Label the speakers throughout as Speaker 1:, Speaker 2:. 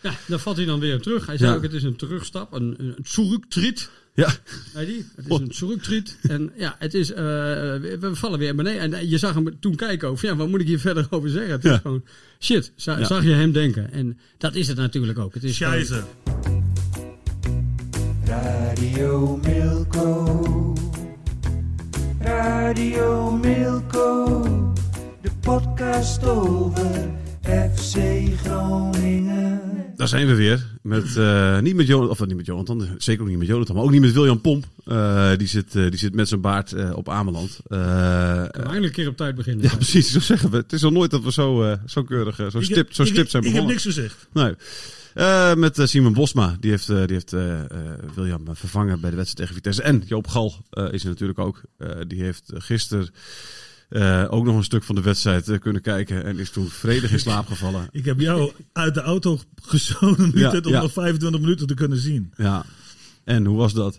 Speaker 1: Ja, daar valt hij dan weer op terug. Hij zei
Speaker 2: Ja.
Speaker 1: ook, het is een terugstap, een, een terugtrit.
Speaker 2: Ja.
Speaker 1: Zei die? Het is een terugtrit. En ja, het is, eh, we we vallen weer beneden. En eh, je zag hem toen kijken over, ja, wat moet ik hier verder over zeggen? Het
Speaker 2: Ja.
Speaker 1: is gewoon, shit, za-
Speaker 2: Ja.
Speaker 1: zag je hem denken. En dat is het natuurlijk ook. Het is gewoon-
Speaker 3: Scheiße.
Speaker 4: Radio Milko. Radio Milko. De podcast over FC Groningen.
Speaker 2: Daar zijn we weer. Met, eh, niet met Jonathan, of niet met Jonathan, zeker ook niet met Jonathan, maar ook niet met William Pomp. Eh, die, zit, eh, die zit met zijn baard eh, op Ameland. Eh, eh,
Speaker 1: we eindelijk een keer op tijd beginnen.
Speaker 2: ja, precies, zo zeggen we. Het is al nooit dat we zo, eh, zo keurig, eh, zo
Speaker 3: Ik heb-
Speaker 2: stipt, zo
Speaker 3: ik-
Speaker 2: stipt zijn
Speaker 3: Ik heb
Speaker 2: begonnen.
Speaker 3: niks gezegd.
Speaker 2: Nee. Eh, met eh, Simon Bosma, die heeft, eh, die heeft eh, eh, William eh, vervangen bij de wedstrijd tegen Vitesse. En Joop Gal eh, is er natuurlijk ook. Eh, die heeft eh, gisteren eh, ook nog een stuk van de wedstrijd eh, kunnen kijken en is toen vredig in slaap gevallen.
Speaker 3: Ik heb jou uit de auto gezonen
Speaker 2: Ja,
Speaker 3: om
Speaker 2: ja.
Speaker 3: nog 25 minuten te kunnen zien.
Speaker 2: Ja. En hoe was dat?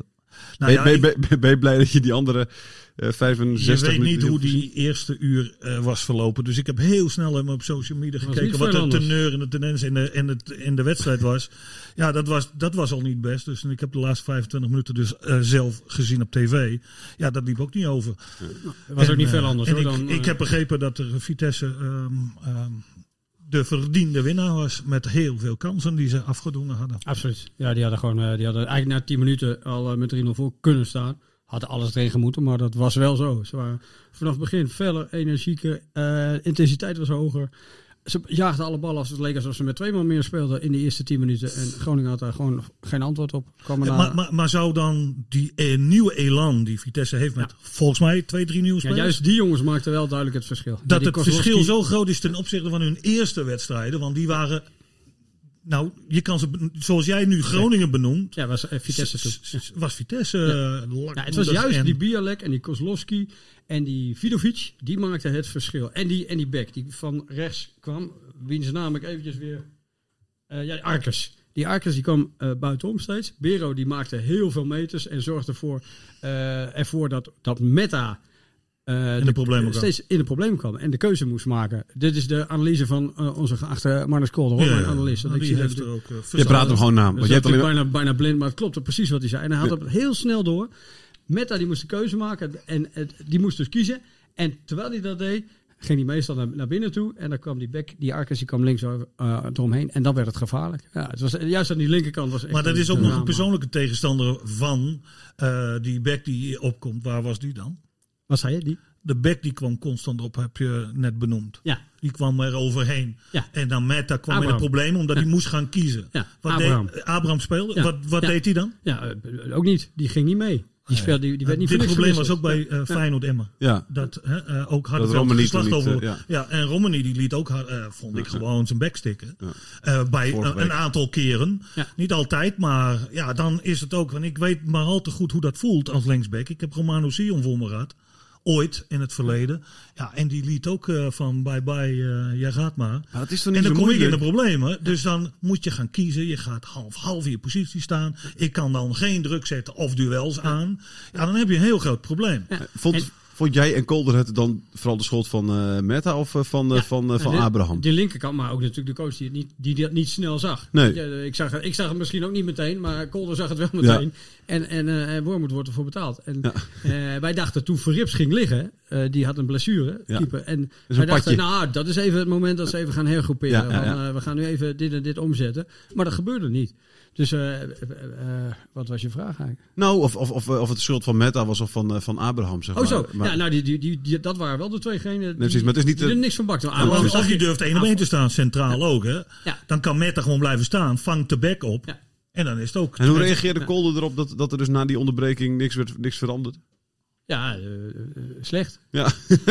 Speaker 2: ben,
Speaker 3: Nou ja,
Speaker 2: je-
Speaker 3: ik-
Speaker 2: ben, ben- ben je blij dat je die andere eh 65
Speaker 3: Je weet niet
Speaker 2: minuten
Speaker 3: hoe
Speaker 2: hebt gezien?
Speaker 3: die eerste uur eh, was verlopen. Dus ik heb heel snel hem op social media
Speaker 1: niet
Speaker 3: gekeken. Wat
Speaker 1: veel
Speaker 3: de
Speaker 1: anders.
Speaker 3: teneur en de tendens in de, in het, in de wedstrijd was. Ja, dat was, dat was al niet best. Dus en ik heb de laatste 25 minuten dus eh, zelf gezien op tv. Ja, dat liep ook niet over.
Speaker 1: Het was
Speaker 3: En,
Speaker 1: ook niet
Speaker 3: eh,
Speaker 1: veel anders.
Speaker 3: en
Speaker 1: hoor,
Speaker 3: ik,
Speaker 1: dan, eh,
Speaker 3: ik heb begrepen dat er Vitesse ehm, ehm, de verdiende winnaar was. Met heel veel kansen die ze afgedwongen hadden.
Speaker 1: Absoluut. Ja, die hadden gewoon, eh, die hadden eigenlijk na 10 minuten al eh, met 3-0 voor kunnen staan. Hadden alles tegen moeten, maar dat was wel zo. Ze waren vanaf het begin feller, energieker, eh, intensiteit was hoger. Ze jaagden alle ballen af. Het leek alsof ze met twee man meer speelden in de eerste 10 minuten. En Groningen had daar gewoon geen antwoord op. Kwam erna-
Speaker 3: Maar, maar, maar zou dan die eh, nieuwe elan die Vitesse heeft met volgens mij twee, drie nieuwe
Speaker 1: ja,
Speaker 3: spelers...
Speaker 1: juist die jongens maakten wel duidelijk het verschil. Ja,
Speaker 3: dat
Speaker 1: die
Speaker 3: het verschil
Speaker 1: Kozlowski-
Speaker 3: zo groot is ten opzichte van hun eerste wedstrijden. Want die waren. Nou, je kan ze, ben- zoals jij nu Groningen benoemt.
Speaker 1: Ja, was eh, Vitesse toen.
Speaker 3: s- s- Was Vitesse. eh, lak-
Speaker 1: Ja, het was
Speaker 3: dat-
Speaker 1: juist
Speaker 3: en-
Speaker 1: die Bialek en die Kozlowski en die Vidovic, die maakten het verschil. En die, en die back die van rechts kwam, wiens naam ik eventjes weer... eh, ja, die Arkers. Die Arkers die kwam eh, buitenom steeds. Bero die maakte heel veel meters en zorgde voor, eh, ervoor dat, dat Meta... eh,
Speaker 3: de problemen kwam.
Speaker 1: steeds in de problemen kwam en de keuze moest maken. Dit is de analyse van eh, onze geachte Marnus Kolder, hoor,
Speaker 3: Ja,
Speaker 1: mijn
Speaker 3: ja,
Speaker 1: analist. Want
Speaker 3: die
Speaker 1: ik zie
Speaker 3: heeft
Speaker 1: dat-
Speaker 3: er ook. eh,
Speaker 2: Je praat hem gewoon na. Oh, nou, Want
Speaker 1: dus
Speaker 2: je hebt
Speaker 1: dat
Speaker 2: alleen maar-
Speaker 1: bijna, bijna blind, maar het klopte precies wat hij zei. En hij had het heel snel door. Meta die moest de keuze maken en het- die moest dus kiezen. En terwijl hij dat deed, ging hij meestal naar, naar binnen toe. En dan kwam die bek, die Arkes, die kwam links over, eh, eromheen. En dan werd het gevaarlijk. Ja, het was, juist aan die linkerkant was echt
Speaker 3: Maar dat
Speaker 1: een
Speaker 3: is ook nog een
Speaker 1: drama.
Speaker 3: persoonlijke tegenstander van eh, die back die opkomt. Waar was die dan?
Speaker 1: Wat zei je? Die?
Speaker 3: De back die kwam constant op, heb je net benoemd.
Speaker 1: Ja,
Speaker 3: Die kwam er overheen.
Speaker 1: Ja.
Speaker 3: En dan Meta kwam in
Speaker 1: Abraham.
Speaker 3: het probleem omdat hij moest gaan kiezen.
Speaker 1: Ja,
Speaker 3: Wat
Speaker 1: Abraham.
Speaker 3: Deed, Abraham speelde.
Speaker 1: Ja.
Speaker 3: Wat, wat
Speaker 1: Ja.
Speaker 3: deed hij dan?
Speaker 1: ja eh, ook niet. Die ging niet mee. Die, speelde, die, die werd niet
Speaker 3: Ah, Dit
Speaker 1: voor niks
Speaker 3: probleem was
Speaker 1: gewisseld.
Speaker 3: ook bij eh
Speaker 1: Ja.
Speaker 3: Feyenoord Emmen.
Speaker 2: Ja.
Speaker 3: Dat hè, eh, ook
Speaker 2: Dat
Speaker 3: hard
Speaker 2: Romani toen
Speaker 3: geslacht
Speaker 2: niet,
Speaker 3: over.
Speaker 2: eh, ja.
Speaker 3: ja. en Romani die liet ook, hard- eh, vond ik gewoon zijn bek stikken. Eh, bij
Speaker 2: Vorige
Speaker 3: een,
Speaker 2: week.
Speaker 3: een aantal keren.
Speaker 1: Ja.
Speaker 3: Niet altijd, maar ja, dan is het ook. Want ik weet maar al te goed hoe dat voelt als linksback. Ik heb Romano Sion voor me gehad. Ooit in het verleden. Ja, en die liet ook eh, van bye bye, eh jij gaat maar.
Speaker 2: Maar dat is toch
Speaker 3: En
Speaker 2: niet
Speaker 3: dan
Speaker 2: zo
Speaker 3: kom je in de
Speaker 2: moeilijk?
Speaker 3: problemen. Dus dan moet je gaan kiezen. Je gaat half-half in je positie staan. Ik kan dan geen druk zetten of duels aan. Ja, dan heb je een heel groot probleem.
Speaker 1: Ja.
Speaker 2: Vond,
Speaker 1: En-
Speaker 2: vond jij en Kolder het dan vooral de schuld van eh Meta of eh, van, eh, van, eh, van
Speaker 1: Ja, de-
Speaker 2: Abraham?
Speaker 1: Die linkerkant, maar ook natuurlijk de coach die, het niet, die dat niet snel zag.
Speaker 2: Nee.
Speaker 1: Ja, ik, zag het, ik zag het misschien ook niet meteen, maar Kolder zag het wel meteen. En, en eh, en Wormoed wordt ervoor betaald. En, eh, wij dachten toen Verrips ging liggen, eh, die had een blessure,
Speaker 2: Ja.
Speaker 1: keeper. En
Speaker 2: een
Speaker 1: wij dachten,
Speaker 2: padje.
Speaker 1: nou dat is even het moment dat ze even gaan hergroeperen.
Speaker 2: Ja, ja, ja.
Speaker 1: Van, eh, we gaan nu even dit en dit omzetten. Maar dat gebeurde niet. Dus eh, eh, eh, wat was je vraag eigenlijk?
Speaker 2: Nou, of, of, of, eh, of het de schuld van Meta was of van, eh, van Abraham, zeg
Speaker 1: Oh
Speaker 2: maar.
Speaker 1: zo,
Speaker 2: Maar-
Speaker 1: ja, nou, die, die, die, die- dat waren wel de tweegenen die,
Speaker 2: precies, maar het is niet
Speaker 1: die
Speaker 2: de-
Speaker 1: er niks van bakten. Ah,
Speaker 3: Ja,
Speaker 1: Abraham
Speaker 3: want als
Speaker 1: zag
Speaker 3: je
Speaker 1: je-
Speaker 3: durft één op één te staan, centraal ook, hè,
Speaker 1: Ja.
Speaker 3: dan kan Meta gewoon blijven staan. Vangt de back op.
Speaker 1: Ja.
Speaker 3: En dan is het ook.
Speaker 2: En hoe reageerde Kolder erop dat, dat er dus na die onderbreking niks, werd, niks veranderd?
Speaker 1: Ja, eh, eh, slecht.
Speaker 2: Ja.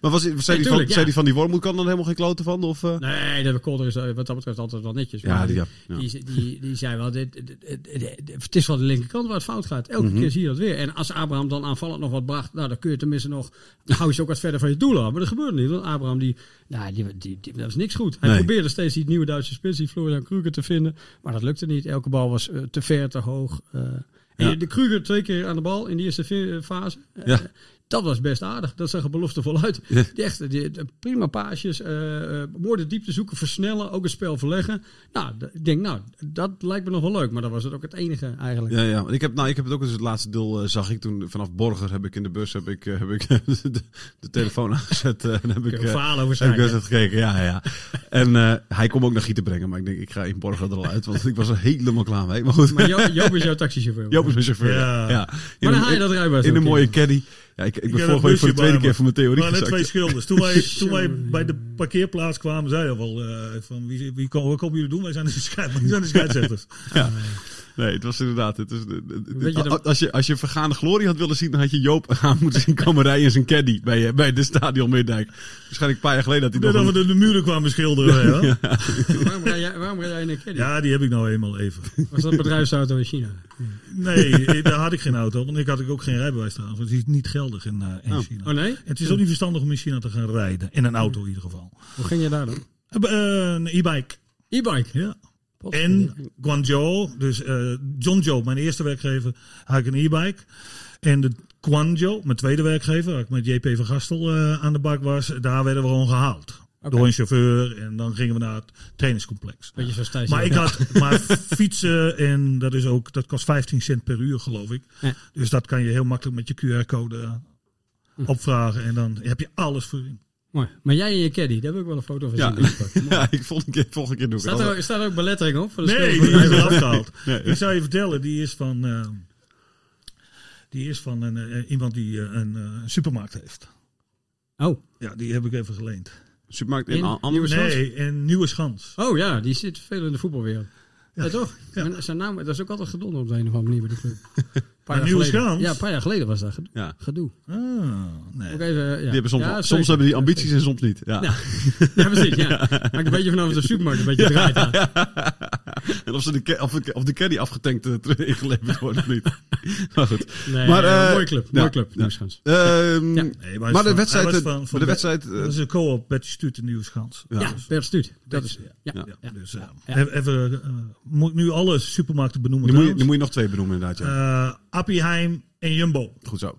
Speaker 2: maar was, was zei, die van,
Speaker 1: tuurlijk, ja.
Speaker 2: zei die van die wormhoed kan er helemaal geen kloten van? Of, eh?
Speaker 1: Nee, de recorder is eh, wat dat betreft altijd wel netjes.
Speaker 2: Ja,
Speaker 1: Maar
Speaker 2: die- ja, ja.
Speaker 1: Die, die, die zei wel, dit, dit- dit- dit- dit- het is wel de linkerkant waar het fout gaat. Elke
Speaker 2: Mhm.
Speaker 1: keer zie je dat weer. En als Abraham dan aanvallend nog wat bracht, nou, dan kun je tenminste nog, dan hou je ze ook wat verder van je doel af. Maar dat gebeurde niet, want Abraham, die, nou, die, die, die- dat was niks goed. Hij
Speaker 2: Nee.
Speaker 1: probeerde steeds die nieuwe Duitse spits, die Florian Kruger, te vinden. Maar dat lukte niet. Elke bal was eh, te ver, te hoog. eh. en
Speaker 2: Ja.
Speaker 1: de Kruger twee keer aan de bal in die eerste ve- fase. Eh,
Speaker 2: Ja.
Speaker 1: dat was best aardig. Dat zag er beloftevol uit.
Speaker 2: Ja.
Speaker 1: Die echt, die, de prima paasjes. eh eh, mooie diepte zoeken, versnellen, ook het spel verleggen. Nou, d- ik denk, nou, dat lijkt me nog wel leuk. Maar dat was het ook het enige eigenlijk.
Speaker 2: Ja, ja. Ik heb, nou, ik heb het ook eens het laatste deel eh, zag ik toen vanaf Borger heb ik in de bus heb ik, eh, heb ik de, de telefoon aangezet eh, en heb ik
Speaker 1: Kun je
Speaker 2: eh,
Speaker 1: verhalen over
Speaker 2: heb
Speaker 1: zijn,
Speaker 2: ik wedstrijd gekeken. Ja, ja. En eh, hij kon me ook naar Gieten brengen, maar ik denk ik ga in Borger er al uit, want ik was er helemaal klaar mee. Maar goed.
Speaker 1: Maar Jo- Joop is jouw taxichauffeur.
Speaker 2: Joop is mijn chauffeur. Ja.
Speaker 3: Ja.
Speaker 2: In
Speaker 1: dan
Speaker 2: een-
Speaker 1: haal je dat rijbewijs
Speaker 2: In
Speaker 1: ook
Speaker 2: een mooie
Speaker 1: in.
Speaker 2: caddy. Ja, ik, ik ben
Speaker 3: heb
Speaker 2: vorige
Speaker 3: een
Speaker 2: week voor de
Speaker 3: busje
Speaker 2: tweede
Speaker 3: bij
Speaker 2: keer
Speaker 3: me.
Speaker 2: voor mijn theorie
Speaker 3: Maar net twee
Speaker 2: gezakt.
Speaker 3: schilders. Toen wij, toen wij bij de parkeerplaats kwamen, zei hij al eh, van wie, wie, komen- wat komen jullie doen? Wij zijn de, scheid, wij zijn de scheidsrechters.
Speaker 2: Ja. Nee, het was inderdaad. Het is, het- het-
Speaker 1: Weet je dan-
Speaker 2: als, je, als je vergaande glorie had willen zien, dan had je Joop aan moeten zien komen rijden in zijn caddy bij, eh, bij de stadion Middijk. Waarschijnlijk een paar jaar geleden had hij
Speaker 3: Net
Speaker 2: nog
Speaker 3: dat
Speaker 2: een-
Speaker 3: we de, de muren kwamen schilderen. Ja.
Speaker 1: Waarom rij jij, waarom rij jij in een caddy?
Speaker 3: ja, die heb ik nou eenmaal even.
Speaker 1: Was dat een bedrijfsauto in China?
Speaker 3: Nee, eh, daar had ik geen auto, want ik had ook geen rijbewijs trouwens. Het is niet geldig in, eh, in China.
Speaker 1: Oh nee?
Speaker 3: Het is ook niet verstandig om in China te gaan rijden. In een auto in ieder geval.
Speaker 1: Hoe ging je daar dan?
Speaker 3: Eh, Een e-bike.
Speaker 1: E-bike.
Speaker 3: Ja. En Guangzhou, dus eh Zhongzhou, mijn eerste werkgever, had ik een e-bike. En de Guangzhou, mijn tweede werkgever, waar ik met JP van Gastel eh, aan de bak was, daar werden we gewoon gehaald. Door een chauffeur en dan gingen we naar het trainingscomplex.
Speaker 1: Beetje zoals Thijs.
Speaker 3: Maar
Speaker 1: hier.
Speaker 3: ik had maar fietsen en dat is ook dat kost 15 cent per uur geloof ik.
Speaker 1: Ja.
Speaker 3: Dus dat kan je heel makkelijk met je QR-code
Speaker 1: Hm.
Speaker 3: opvragen en dan heb je alles voor in.
Speaker 1: Mooi. Maar jij in je caddy, daar heb ik wel een foto van
Speaker 2: Ja.
Speaker 1: zien. Mooi.
Speaker 2: Ja, ik volgende keer, volgende keer doe ik het.
Speaker 1: Staat er, ook- staat er ook belettering op? Voor de
Speaker 3: Nee,
Speaker 1: spelers?
Speaker 3: die is eraf gehaald.
Speaker 2: Nee.
Speaker 3: Ik zou je vertellen, die is van, eh, die is van een, eh, iemand die eh, een eh, supermarkt heeft.
Speaker 1: Oh.
Speaker 3: Ja, die heb ik even geleend.
Speaker 2: Supermarkt
Speaker 1: In
Speaker 2: in Am- Am-
Speaker 1: Nieuwe Schans?
Speaker 3: Nee, een nieuwe schans.
Speaker 1: Oh ja, die zit veel in de voetbalwereld. Ja, toch?
Speaker 3: Ja.
Speaker 1: Maar Zijn naam, dat is ook altijd gedonnen op de een of andere manier bij de club. Een Paar jaar
Speaker 3: Nieuwe
Speaker 1: geleden.
Speaker 3: Schans?
Speaker 1: Ja, een paar jaar geleden was dat gedoe.
Speaker 2: Ja.
Speaker 1: gedoe.
Speaker 3: Ah, nee.
Speaker 1: Ook even, ja.
Speaker 2: Die hebben soms,
Speaker 1: Ja,
Speaker 2: soms
Speaker 1: zeker.
Speaker 2: hebben die ambities en soms niet. Ja.
Speaker 1: Ja. Ja, precies. Ja. Maakt een beetje vanaf de supermarkt een beetje draait. aan.
Speaker 2: En of, ze de, ca- of, de- of de caddy afgetankt eh, terug ingeleverd wordt of niet. Maar goed.
Speaker 1: Nee,
Speaker 2: Maar,
Speaker 1: ja,
Speaker 2: eh,
Speaker 1: mooie club.
Speaker 2: ja,
Speaker 1: mooie club,
Speaker 2: ja.
Speaker 1: Nieuwe Schans.
Speaker 2: Ehm,
Speaker 1: Ja.
Speaker 3: Nee, hij
Speaker 2: maar,
Speaker 3: is
Speaker 2: de
Speaker 3: van-
Speaker 2: wedstrijd...
Speaker 3: hij was
Speaker 2: eh,
Speaker 3: van-
Speaker 2: maar
Speaker 3: van
Speaker 2: de
Speaker 3: Be-
Speaker 2: wedstrijd eh,
Speaker 3: Dat is een co-op Betty Stuut in Nieuwe Schans.
Speaker 2: Ja.
Speaker 1: Ja, Bert Stuut. Dat is,
Speaker 3: Ja.
Speaker 1: ja.
Speaker 2: Ja.
Speaker 1: ja. ja.
Speaker 3: Dus, eh,
Speaker 1: Ja.
Speaker 3: even- Even, eh, moet ik nu alle supermarkten benoemen?
Speaker 2: nu, moet je, nu
Speaker 3: trouwens?
Speaker 2: moet je nog twee benoemen inderdaad. Ja.
Speaker 3: Eh, Appieheim en Jumbo.
Speaker 2: Goed zo.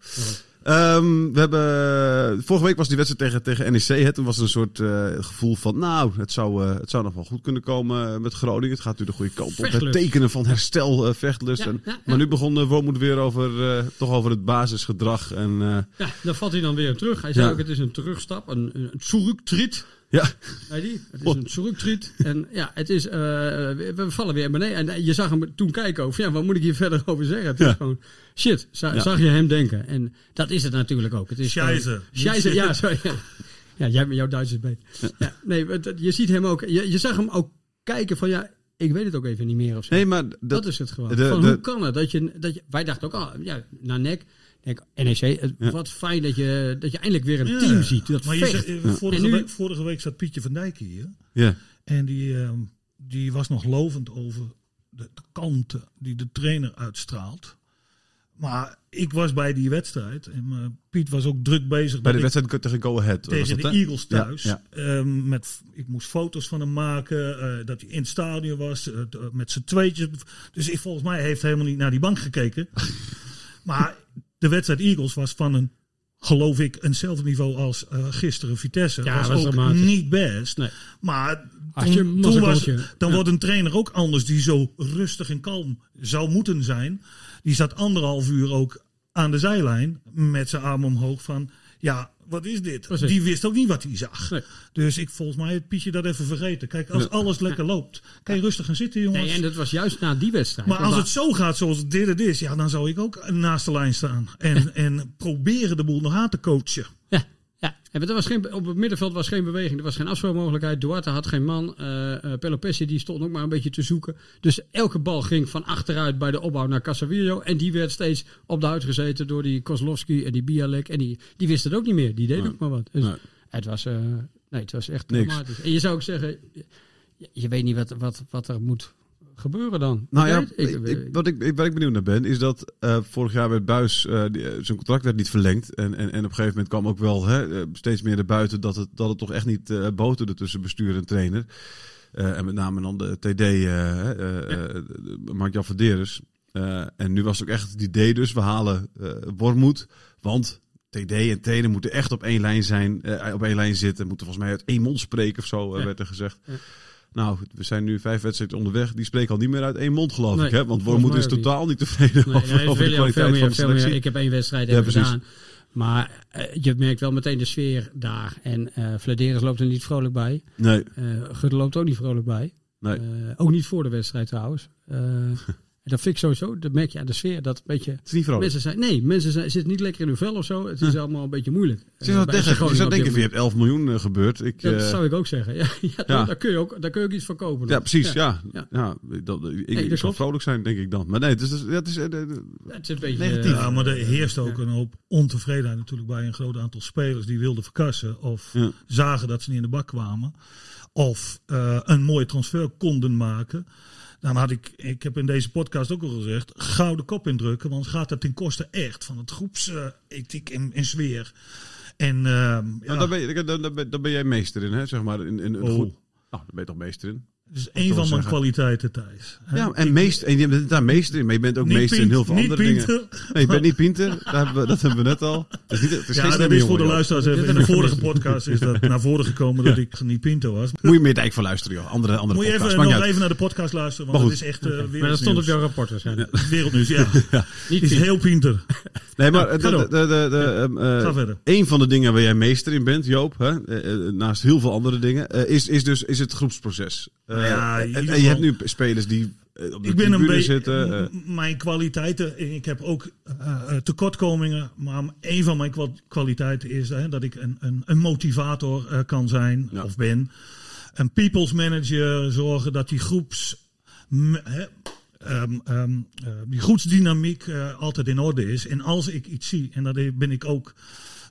Speaker 2: Ehm, we hebben, vorige week was die wedstrijd tegen, tegen NEC. Hè. Toen was er een soort eh, gevoel van, nou, het zou, eh, het zou nog wel goed kunnen komen eh, met Groningen. Het gaat nu de goede kant op. Het
Speaker 1: Vechtlust.
Speaker 2: tekenen van herstel, eh, vechtlust.
Speaker 1: Ja,
Speaker 2: en,
Speaker 1: ja, ja.
Speaker 2: Maar nu begon de Wormoed weer over, eh, toch over het basisgedrag. En, eh,
Speaker 1: daar valt hij dan weer op terug. Hij zei
Speaker 2: Ja.
Speaker 1: ook, het is een terugstap, een, een terugtrit.
Speaker 2: ja,
Speaker 1: Weet je? Het is een terugtreed. En ja, het is, eh, we we vallen weer beneden. En eh, je zag hem toen kijken over, ja, wat moet ik hier verder over zeggen? Het
Speaker 2: Ja.
Speaker 1: is gewoon, shit, za-
Speaker 2: Ja.
Speaker 1: zag je hem denken. En dat is het natuurlijk ook. Het is gewoon-
Speaker 3: Scheisse.
Speaker 1: Scheisse, ja, sorry. Ja, jij met jouw Duits is beter. Ja, nee, want dat- je ziet hem ook, je, je zag hem ook kijken van, ja, ik weet het ook even niet meer of zo.
Speaker 2: nee, maar
Speaker 1: dat,
Speaker 2: dat,
Speaker 1: is het gewoon.
Speaker 2: de-
Speaker 1: van,
Speaker 2: de-
Speaker 1: hoe kan het? Dat je, dat je, wij dachten ook al, ja, naar E nek. Denk, NEC, het-
Speaker 2: Ja.
Speaker 1: eh, wat fijn dat je, dat je eindelijk weer een
Speaker 3: Ja.
Speaker 1: team ziet. Dat
Speaker 3: maar je
Speaker 1: vecht.
Speaker 3: zegt, eh, vorige,
Speaker 1: En nu-
Speaker 3: week, vorige week zat Pietje van Dijk hier.
Speaker 2: ja.
Speaker 3: En die, ehm, die was nog lovend over de, de kanten die de trainer uitstraalt. Maar ik was bij die wedstrijd en eh, Piet was ook druk bezig
Speaker 2: bij
Speaker 3: dat
Speaker 2: de
Speaker 3: ik
Speaker 2: wedstrijd tegen Go Ahead.
Speaker 1: eh,
Speaker 2: was
Speaker 3: tegen de
Speaker 2: dat, hè?
Speaker 3: Eagles thuis.
Speaker 2: Ja,
Speaker 3: ehm, met, ik moest foto's van hem maken, eh, dat hij in het stadion was, eh, t- met z'n tweetjes. Dus ik, volgens mij heeft hij helemaal niet naar die bank gekeken. maar de wedstrijd Eagles was van een, geloof ik, eenzelfde niveau als eh, gisteren Vitesse.
Speaker 1: Ja,
Speaker 3: was,
Speaker 1: was
Speaker 3: ook
Speaker 1: dramatisch.
Speaker 3: niet best.
Speaker 1: Nee.
Speaker 3: Maar
Speaker 1: Had
Speaker 3: toen,
Speaker 1: je
Speaker 3: toen was,
Speaker 1: mazzelgoaltje.
Speaker 3: dan wordt een trainer ook anders die zo rustig en kalm zou moeten zijn. Die zat anderhalf uur ook aan de zijlijn met zijn arm omhoog van... Ja, wat is dit?
Speaker 1: Precies.
Speaker 3: Die wist ook niet wat hij zag.
Speaker 1: Nee.
Speaker 3: Dus ik, volgens mij heeft Pietje dat even vergeten. Kijk, als alles lekker loopt, kan je rustig gaan zitten, jongens.
Speaker 1: Nee, en dat was juist na die wedstrijd.
Speaker 3: maar
Speaker 1: Want
Speaker 3: als
Speaker 1: daar-
Speaker 3: het zo gaat zoals dit het is, ja, dan zou ik ook naast de lijn staan. En, en proberen de boel nog aan te coachen.
Speaker 1: Ja, ja. want er was geen, op het middenveld was geen beweging, er was geen afspeelmogelijkheid. Duarte had geen man. eh eh, Pelopessi die stond ook maar een beetje te zoeken. Dus elke bal ging van achteruit bij de opbouw naar Casavillo. En die werd steeds op de huid gezeten door die Kozlowski en die Bialek. En die, die wist het ook niet meer. Die deed
Speaker 2: Nee.
Speaker 1: ook maar wat. Dus
Speaker 2: Nee.
Speaker 1: het, was, eh, nee, het was echt
Speaker 2: Niks.
Speaker 1: dramatisch. En je zou ook zeggen, je, je weet niet wat, wat, wat er moet gebeuren dan.
Speaker 2: Nou ja,
Speaker 1: Ik weet- ik-
Speaker 2: ik- wat, ik, ik- waar ik benieuwd naar ben, is dat eh, vorig jaar werd Buis, eh, zijn contract werd niet verlengd. En, en, en op een gegeven moment kwam ook wel hè, eh, steeds meer naar buiten dat het, dat het toch echt niet eh boterde tussen bestuur en trainer. Eh, en met name dan de TD, eh, eh, eh, Mark-Jan Verderes. Eh, en nu was het ook echt het idee dus, we halen eh Wormoed, want... TD en trainer moeten echt op één lijn zijn, eh, op één lijn zitten. Moeten volgens mij uit één mond spreken of zo, eh,
Speaker 1: Ja.
Speaker 2: werd er gezegd.
Speaker 1: Ja.
Speaker 2: Nou, we zijn nu vijf wedstrijden onderweg. Die spreken al niet meer uit één mond, geloof
Speaker 1: Nee,
Speaker 2: ik. Hè? Want
Speaker 1: volgens
Speaker 2: Wormoed
Speaker 1: mij
Speaker 2: is
Speaker 1: ook niet.
Speaker 2: totaal niet tevreden
Speaker 1: Nee,
Speaker 2: over,
Speaker 1: nee,
Speaker 2: over de
Speaker 1: veel-
Speaker 2: kwaliteit
Speaker 1: veel meer,
Speaker 2: van de
Speaker 1: veel meer.
Speaker 2: selectie.
Speaker 1: Ik heb één wedstrijd
Speaker 2: Ja,
Speaker 1: even
Speaker 2: precies.
Speaker 1: gedaan. Maar eh, je merkt wel meteen de sfeer daar. En eh Vladeres loopt er niet vrolijk bij.
Speaker 2: Nee,
Speaker 1: Eh Gudde loopt ook niet vrolijk bij.
Speaker 2: nee.
Speaker 1: Eh, ook niet voor de wedstrijd trouwens. Eh, dat vind ik sowieso. Dat merk je aan de sfeer. Dat een beetje...
Speaker 2: het is niet vrolijk.
Speaker 1: Mensen zijn, nee, mensen zijn, zitten niet lekker in hun vel of zo. Het is allemaal een beetje moeilijk.
Speaker 2: Hm. Het is wel
Speaker 1: Eh, bij FC
Speaker 2: tegen. Je
Speaker 1: Groningen
Speaker 2: zou
Speaker 1: op dit
Speaker 2: denken, van, je
Speaker 1: moment.
Speaker 2: hebt 11 miljoen eh, gebeurd. Ik,
Speaker 1: Dat
Speaker 2: eh,
Speaker 1: zou ik ook zeggen. Ja, ja,
Speaker 2: Ja.
Speaker 1: Daar, kun je ook, daar kun je ook iets van kopen.
Speaker 2: ja, precies.
Speaker 1: Ja.
Speaker 2: Ja. Ja.
Speaker 1: Ja.
Speaker 2: dat, ik
Speaker 1: dat
Speaker 2: ik zou
Speaker 1: klopt.
Speaker 2: vrolijk zijn, denk ik dan. Maar nee, het is, dat is, eh, eh,
Speaker 1: Het is een beetje...
Speaker 2: Negatief.
Speaker 1: eh,
Speaker 3: Ja, maar er heerst ook een hoop ontevredenheid natuurlijk bij een groot aantal spelers die wilden verkassen of
Speaker 2: Ja.
Speaker 3: zagen dat ze niet in de bak kwamen. Of eh, een mooie transfer konden maken. Dan had ik, ik heb in deze podcast ook al gezegd, gauw de kop indrukken. Want gaat dat ten koste echt van het groepsethiek en, en sfeer. En ehm, ja,
Speaker 2: nou, daar, ben je, daar, daar ben, daar ben jij meester in, hè? zeg maar. In, in, een
Speaker 3: Oh.
Speaker 2: goed, nou, daar ben je toch meester in.
Speaker 3: dat is
Speaker 2: wel
Speaker 3: een van mijn
Speaker 2: zeggen.
Speaker 3: kwaliteiten, Thijs.
Speaker 2: Ja, en, meester, en je bent daar meester in, maar je bent ook
Speaker 3: Niet
Speaker 2: meester in
Speaker 3: Piet,
Speaker 2: heel veel
Speaker 3: niet
Speaker 2: andere dingen.
Speaker 3: Pieter.
Speaker 2: Nee, je bent niet Pinter. Dat hebben we, dat hebben we net al. Het is niet, het is geen
Speaker 3: Ja, dat
Speaker 2: slimme
Speaker 3: is
Speaker 2: jongen,
Speaker 3: voor de
Speaker 2: joh.
Speaker 3: luisteraars even. In de vorige podcast is dat naar voren gekomen dat ik niet Pinto was.
Speaker 2: Moet je meer Dijk voor luisteren, joh. Andere, andere
Speaker 3: Moet je
Speaker 2: podcasts.
Speaker 3: even,
Speaker 2: Maakt
Speaker 3: nog
Speaker 2: niet uit.
Speaker 3: even naar de podcast luisteren,
Speaker 2: Maar
Speaker 3: want
Speaker 2: goed.
Speaker 3: het is echt eh
Speaker 1: maar dat
Speaker 3: wereldnieuws.
Speaker 1: stond op jouw rapport waarschijnlijk.
Speaker 3: Wereldnieuws, ja.
Speaker 1: Niet
Speaker 3: is
Speaker 1: Piet.
Speaker 3: heel pinter.
Speaker 2: Nee, maar eh,
Speaker 3: ga
Speaker 2: de, de, de,
Speaker 3: door.
Speaker 2: de, ehm, eh,
Speaker 3: Ga verder.
Speaker 2: een van de dingen waar jij meester in bent, Joop, hè, eh, eh, naast heel veel andere dingen, eh, is, is dus is het groepsproces. Eh,
Speaker 3: Nou Ja, in
Speaker 2: en,
Speaker 3: ieder
Speaker 2: en je
Speaker 3: geval-
Speaker 2: hebt nu spelers die eh, op de
Speaker 3: Ik ben een
Speaker 2: tribune
Speaker 3: beetje...
Speaker 2: zitten. eh.
Speaker 3: m- Mijn kwaliteiten... Ik heb ook eh, eh, tekortkomingen, maar een van mijn kwa- kwaliteiten is hè, dat ik een, een, een motivator eh, kan zijn
Speaker 2: Ja.
Speaker 3: of ben. Een people's manager, zorgen dat die groeps... m- hè, ehm, ehm, eh, die groepsdynamiek eh, altijd in orde is. En als ik iets zie, en dat ben ik ook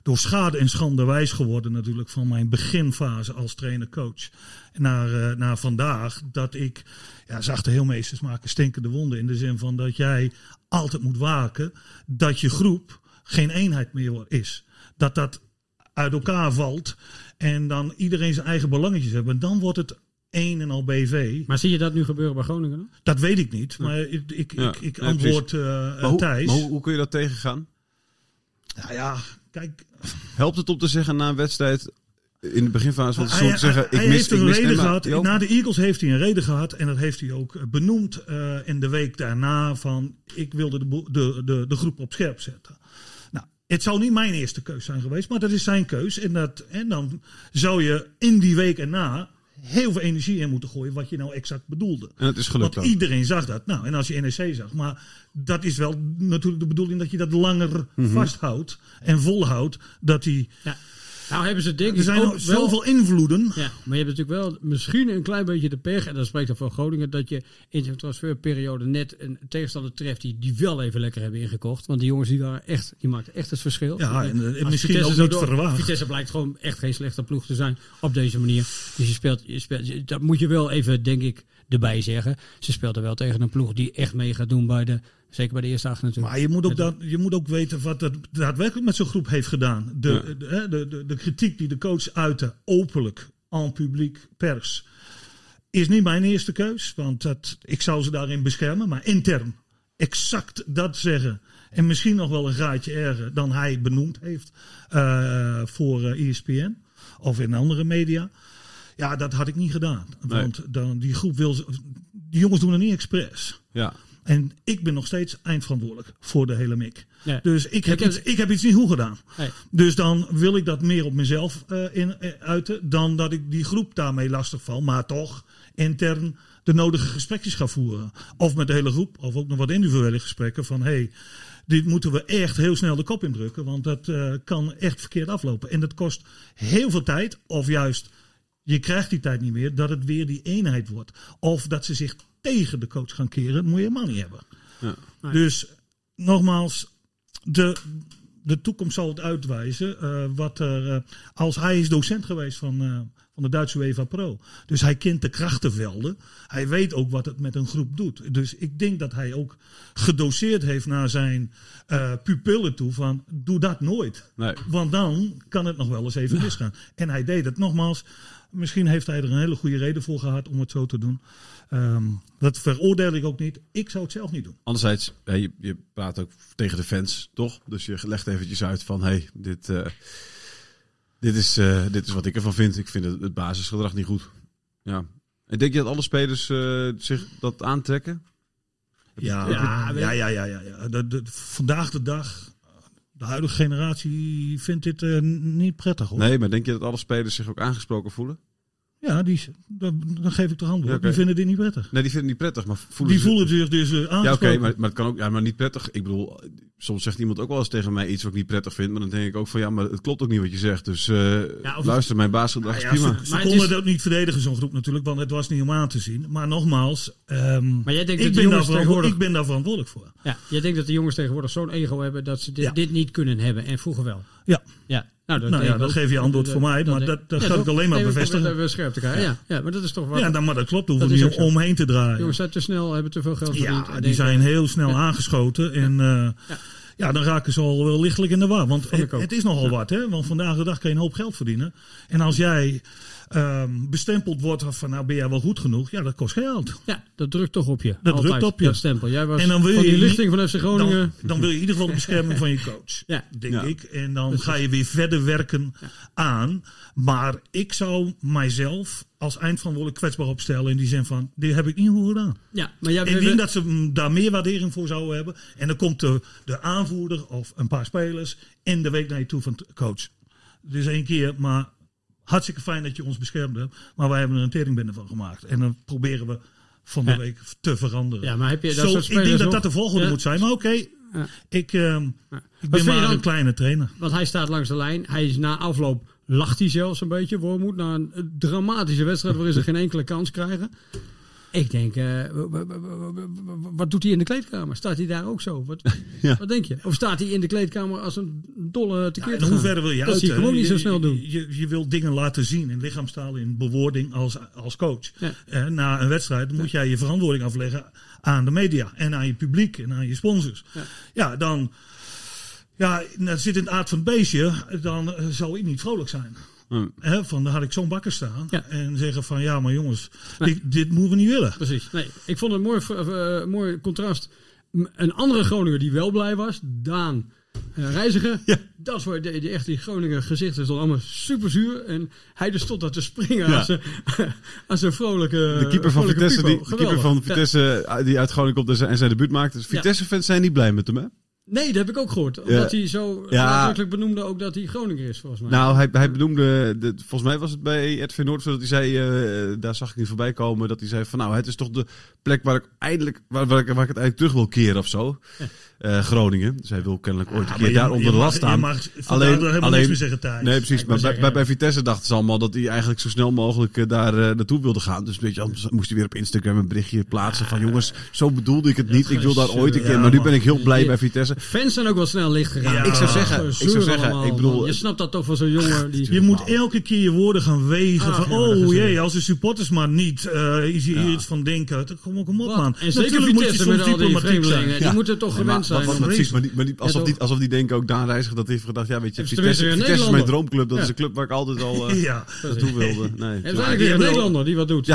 Speaker 3: door schade en schande wijs geworden natuurlijk van mijn beginfase als trainer-coach naar, eh, naar vandaag. Dat ik, ja, zachte heelmeesters maken stinkende wonden in de zin van dat jij altijd moet waken dat je groep geen eenheid meer wo- is. Dat dat uit elkaar valt en dan iedereen zijn eigen belangetjes hebben. En dan wordt het een en al BV.
Speaker 1: Maar zie je dat nu gebeuren bij Groningen? dan?
Speaker 3: Dat weet ik niet, maar ik, ik,
Speaker 2: Ja,
Speaker 3: ik, ik
Speaker 2: ja,
Speaker 3: antwoord eh,
Speaker 2: maar hoe,
Speaker 3: Thijs.
Speaker 2: maar hoe, hoe kun je dat tegengaan?
Speaker 3: Nou ja, kijk,
Speaker 2: Helpt het om te zeggen na een wedstrijd in de beginfase van het
Speaker 3: Hij-
Speaker 2: seizoen te zeggen,
Speaker 3: hij-
Speaker 2: ik
Speaker 3: hij
Speaker 2: mis,
Speaker 3: heeft een
Speaker 2: ik mis
Speaker 3: reden
Speaker 2: Emma,
Speaker 3: gehad.
Speaker 2: Joop?
Speaker 3: Na de Eagles heeft hij een reden gehad. En dat heeft hij ook eh, benoemd eh, in de week daarna. Van ik wilde de, bo- de, de, de groep op scherp zetten. Nou, het zou niet mijn eerste keus zijn geweest. Maar dat is zijn keus. En, dat, en dan zou je in die week erna heel veel energie in moeten gooien. Wat je nou exact bedoelde.
Speaker 2: En het is gelukt
Speaker 3: Want
Speaker 2: ook.
Speaker 3: iedereen zag dat. Nou, en als je NEC zag. Maar dat is wel natuurlijk de bedoeling dat je dat langer vasthoudt. En volhoudt. Dat die,
Speaker 1: Ja. Nou hebben ze denk
Speaker 3: er
Speaker 1: ik
Speaker 3: zijn
Speaker 1: ook
Speaker 3: nog
Speaker 1: wel...
Speaker 3: zoveel invloeden.
Speaker 1: Ja, maar je hebt natuurlijk wel misschien een klein beetje de pech, en dat spreekt dan voor Groningen, dat je in zo'n transferperiode net een tegenstander treft die, die wel even lekker hebben ingekocht. Want die jongens die waren echt, die maakten echt het verschil.
Speaker 3: Ja, en, eh,
Speaker 1: Als
Speaker 3: misschien
Speaker 1: Vitesse
Speaker 3: ook
Speaker 1: zo
Speaker 3: niet
Speaker 1: door-
Speaker 3: verwacht.
Speaker 1: Vitesse blijkt gewoon echt geen slechte ploeg te zijn op deze manier. Dus je speelt, je speelt, dat moet je wel even, denk ik, erbij zeggen. Ze speelden wel tegen een ploeg die echt mee gaat doen bij de, zeker bij de eerste acht natuurlijk.
Speaker 3: Maar je moet ook, dat, je moet ook weten wat dat daadwerkelijk met zo'n groep heeft gedaan. De, de, hè, de, de, de kritiek die de coach uitte, openlijk, aan publiek, pers, is niet mijn eerste keus. Want dat, ik zou ze daarin beschermen, maar intern exact dat zeggen. En misschien nog wel een graadje erger dan hij benoemd heeft eh, voor eh, ESPN of in andere media. Ja, dat had ik niet gedaan. Want dan, die groep wil. ze- Die jongens doen het niet expres.
Speaker 2: Ja.
Speaker 3: En ik ben nog steeds eindverantwoordelijk voor de hele mik.
Speaker 1: Ja.
Speaker 3: Dus ik heb,
Speaker 1: Ik heb-
Speaker 3: iets, ik heb iets niet goed gedaan.
Speaker 1: Nee.
Speaker 3: Dus dan wil ik dat meer op mezelf eh, in, eh, uiten dan dat ik die groep daarmee lastig val. Maar toch, intern de nodige gesprekjes gaat voeren. Of met de hele groep, of ook nog wat individuele gesprekken van hé, hey, dit moeten we echt heel snel de kop indrukken, want dat eh, kan echt verkeerd aflopen. En dat kost heel veel tijd, of juist je krijgt die tijd niet meer, dat het weer die eenheid wordt. Of dat ze zich tegen de coach gaan keren, dat moet je helemaal niet hebben.
Speaker 2: Ja.
Speaker 3: Dus nogmaals, de, de toekomst zal het uitwijzen. eh, wat er, eh, als hij is docent geweest van, eh, van de Duitse UEFA Pro. Dus hij kent de krachtenvelden. Hij weet ook wat het met een groep doet. Dus ik denk dat hij ook gedoseerd heeft naar zijn eh, pupillen toe van doe dat nooit.
Speaker 2: Nee.
Speaker 3: Want dan kan het nog wel eens even misgaan. En hij deed het nogmaals. Misschien heeft hij er een hele goede reden voor gehad om het zo te doen. Ehm, dat veroordeel ik ook niet. Ik zou het zelf niet doen.
Speaker 2: Anderzijds, hè, je, je praat ook tegen de fans, toch? Dus je legt eventjes uit van, hé, hey, dit, eh, dit, is, eh, dit is wat ik ervan vind. Ik vind het, het basisgedrag niet goed. Ja. En denk je dat alle spelers eh, zich dat aantrekken?
Speaker 3: Ja,
Speaker 1: Heb je-
Speaker 3: ja,
Speaker 1: heb je-
Speaker 3: ja, ja, ja. ja, ja. De, de- vandaag de dag, de huidige generatie vindt dit eh, niet prettig hoor.
Speaker 2: Nee, maar denk je dat alle spelers zich ook aangesproken voelen?
Speaker 3: Ja, die, dan, dan geef ik toch antwoord.
Speaker 2: Ja, oké.
Speaker 3: Die vinden dit niet prettig.
Speaker 2: Nee, die vinden het niet prettig, maar voelen
Speaker 3: die
Speaker 2: ze-
Speaker 3: voelen zich dus eh,
Speaker 2: Ja, oké,
Speaker 3: aangesproken.
Speaker 2: maar, maar het kan ook ja, maar niet prettig. Ik bedoel, soms zegt iemand ook wel eens tegen mij iets wat ik niet prettig vind. Maar dan denk ik ook van, ja, maar het klopt ook niet wat je zegt. Dus eh,
Speaker 1: Ja, of-
Speaker 2: luister, mijn basisgedrag is
Speaker 3: Nou Ja,
Speaker 2: prima.
Speaker 3: ze, ze
Speaker 1: Maar het
Speaker 3: konden
Speaker 1: is-
Speaker 3: het ook niet verdedigen, zo'n groep natuurlijk, want het was niet om aan te zien. Maar nogmaals, ehm,
Speaker 1: Maar jij denkt dat
Speaker 3: ik,
Speaker 1: de
Speaker 3: ben daar
Speaker 1: jongens
Speaker 3: verantwo-
Speaker 1: tegenwoordig...
Speaker 3: ik ben daar verantwoordelijk voor.
Speaker 1: Ja, jij denkt dat de jongens tegenwoordig zo'n ego hebben dat ze dit,
Speaker 3: Ja.
Speaker 1: dit niet kunnen hebben. En vroeger wel.
Speaker 3: Ja.
Speaker 1: Ja. Nou, dat
Speaker 3: Nou ja,
Speaker 1: denk ik
Speaker 3: dan
Speaker 1: ook.
Speaker 3: geef je antwoord voor mij, maar
Speaker 1: denk-
Speaker 3: dat- dat
Speaker 1: Ja,
Speaker 3: kan ik alleen maar
Speaker 1: Nee, we-
Speaker 3: bevestigen.
Speaker 1: We, we scherp elkaar. Ja. Ja. maar dat is toch waar.
Speaker 3: Ja, dan, maar dat klopt. Daar
Speaker 1: Dat
Speaker 3: hoeven we
Speaker 1: is
Speaker 3: niet
Speaker 1: ook zo.
Speaker 3: omheen te draaien.
Speaker 1: jongens zijn te snel, hebben te veel geld verdiend. en
Speaker 3: Ja, die
Speaker 1: denken-
Speaker 3: zijn heel snel
Speaker 1: Ja.
Speaker 3: aangeschoten. En eh, ja.
Speaker 1: Ja.
Speaker 3: dan raken ze al wel lichtelijk in de war. Want
Speaker 1: Vond ik
Speaker 3: het,
Speaker 1: ook.
Speaker 3: het is nogal wat, hè? Want vandaag de dag kan je een hoop geld verdienen. En als jij ehm, bestempeld wordt van, nou ben jij wel goed genoeg, ja, dat kost geld.
Speaker 1: Ja, dat drukt toch op je.
Speaker 3: Dat
Speaker 1: Altijd,
Speaker 3: drukt op je.
Speaker 1: Dat stempel. Jij was
Speaker 3: En dan wil
Speaker 1: van
Speaker 3: je
Speaker 1: die
Speaker 3: niet-
Speaker 1: lichting van FC Groningen.
Speaker 3: Dan, dan wil je in ieder geval de bescherming van je coach.
Speaker 1: Ja.
Speaker 3: Denk
Speaker 2: Ja.
Speaker 3: ik. En dan ga je weer verder werken aan. Maar ik zou mijzelf als eindverantwoordelijk kwetsbaar opstellen. In die zin van, dit heb ik niet goed gedaan.
Speaker 1: ja, maar jij
Speaker 3: Ik denk dat ze mm, daar meer waardering voor zouden hebben. En dan komt de, de aanvoerder of een paar spelers en de week naar je toe van t- coach. Het is één keer, maar hartstikke fijn dat je ons beschermd hebt. Maar wij hebben er een teringbende van gemaakt. En dan proberen we van de
Speaker 1: Ja.
Speaker 3: week te veranderen.
Speaker 1: Ja, maar heb je dat
Speaker 3: Zo,
Speaker 1: soort
Speaker 3: ik
Speaker 1: spelers
Speaker 3: denk dat
Speaker 1: nog?
Speaker 3: dat de volgende
Speaker 1: Ja.
Speaker 3: moet zijn. Maar oké,
Speaker 1: Ja.
Speaker 3: ik, ehm, ik
Speaker 1: vind
Speaker 3: ben
Speaker 1: je
Speaker 3: maar
Speaker 1: dan?
Speaker 3: een kleine trainer.
Speaker 1: Want hij staat langs de lijn. Hij is na afloop, lacht hij zelfs een beetje, Wormoed, na een eh, dramatische wedstrijd waarin ze geen enkele kans krijgen. Ik denk, eh, w- w- w- w- wat doet hij in de kleedkamer? Staat hij daar ook zo? Wat,
Speaker 2: Ja.
Speaker 1: wat denk je? Of staat hij in de kleedkamer als een dolle tekeer
Speaker 3: Ja,
Speaker 1: te
Speaker 3: en
Speaker 1: gaan?
Speaker 3: hoe verder wil je
Speaker 1: Dat
Speaker 3: uit,
Speaker 1: zie ik
Speaker 3: hè?
Speaker 1: hem ook niet zo
Speaker 3: Je-
Speaker 1: snel doen.
Speaker 3: Je, je, je wilt dingen laten zien in lichaamstaal, in bewoording als, als coach.
Speaker 1: Ja.
Speaker 3: Eh, na een wedstrijd moet jij je verantwoording afleggen aan de media en aan je publiek en aan je sponsors. Ja, dan ja, dan zit in het aard van het beestje, dan eh, zou ik niet vrolijk zijn.
Speaker 2: Hm.
Speaker 3: Hè, van, dan had ik zo'n bakker staan
Speaker 1: Ja.
Speaker 3: en zeggen van ja, maar jongens,
Speaker 1: Nee.
Speaker 3: dit, dit moeten we niet willen.
Speaker 1: Precies. Nee, ik vond het een mooi, eh, mooi contrast. M- Een andere Groninger die wel blij was, Daan eh, Reiziger. Dat is waar die, die, echt die Groninger gezicht is dan allemaal super zuur. En hij dus stond daar te springen
Speaker 2: Ja.
Speaker 1: als, een, als een vrolijke
Speaker 2: De keeper van
Speaker 1: vrolijke
Speaker 2: Vitesse, die,
Speaker 1: Pipo.
Speaker 2: de keeper
Speaker 1: eh, Geweldig.
Speaker 2: van
Speaker 1: Ja.
Speaker 2: Vitesse eh, die uit Groningen komt en zijn- en zijn debuut maakt. Dus Vitesse-fans zijn niet blij met hem, hè?
Speaker 1: Nee, dat heb ik ook gehoord. Omdat hij zo
Speaker 2: Ja.
Speaker 1: nadrukkelijk benoemde ook dat hij Groninger is, volgens mij.
Speaker 2: Nou, hij, hij benoemde, de- volgens mij was het bij Edwin Noord, dat hij zei, eh, daar zag ik niet voorbij komen, dat hij zei van nou, het is toch de plek waar ik, eindelijk, waar, waar ik, waar ik het eigenlijk terug wil keren of zo. Eh, Groningen. Dus hij wil kennelijk ooit een keer
Speaker 3: maar je-
Speaker 2: daar onder
Speaker 3: je
Speaker 2: de
Speaker 3: mag-
Speaker 2: last staan.
Speaker 3: je mag vandaag daar helemaal niks meer zeggen, Thijs.
Speaker 2: Nee, precies.
Speaker 1: Ik
Speaker 2: Maar
Speaker 1: wou
Speaker 2: bij,
Speaker 1: zeggen,
Speaker 2: bij,
Speaker 1: ja.
Speaker 2: bij Vitesse dachten ze allemaal dat hij eigenlijk zo snel mogelijk eh, daar eh, naartoe wilde gaan. Dus weet je, anders moest hij weer op Instagram een berichtje plaatsen van jongens, zo bedoelde ik het niet. Ik wil daar ooit een keer, maar nu ben ik heel blij bij Vitesse.
Speaker 1: Fans zijn ook wel snel licht gegaan.
Speaker 3: Ja, ik zou
Speaker 2: zeggen,
Speaker 1: Zo
Speaker 2: ik zou
Speaker 1: zuur
Speaker 2: zeggen,
Speaker 1: allemaal,
Speaker 2: ik bedoel-
Speaker 1: man. Je snapt dat toch van zo'n jongen. Die,
Speaker 3: Je moet elke keer je woorden gaan wegen.
Speaker 1: Ah,
Speaker 3: van,
Speaker 1: ja, dat is
Speaker 3: oh
Speaker 1: het.
Speaker 3: jee, als de supporters maar niet eh is hier iets van denken. dan Kom, kom op,
Speaker 1: Wat?
Speaker 3: man.
Speaker 1: En zeker
Speaker 3: Natuurlijk moet je
Speaker 1: Vitesse
Speaker 3: soms
Speaker 1: met al die
Speaker 3: diplomatiek zijn.
Speaker 1: vreemdelingen. Die moeten toch
Speaker 2: Nee, maar
Speaker 1: gewend zijn.
Speaker 2: wat- wat-
Speaker 1: om-
Speaker 2: precies, maar die, maar die, alsof,
Speaker 1: toch?
Speaker 2: die, alsof die denken ook Daan Reiziger dat hij heeft gedacht, ja weet je,
Speaker 1: Is
Speaker 2: Vitesse,
Speaker 1: tenminste weer een
Speaker 2: Vitesse is mijn
Speaker 1: Nederlander.
Speaker 2: droomclub, dat
Speaker 1: Ja.
Speaker 2: is een club waar ik altijd al eh,
Speaker 3: Ja.
Speaker 2: naartoe wilde. Nee.
Speaker 1: En uiteindelijk weer een Nederlander die wat doet.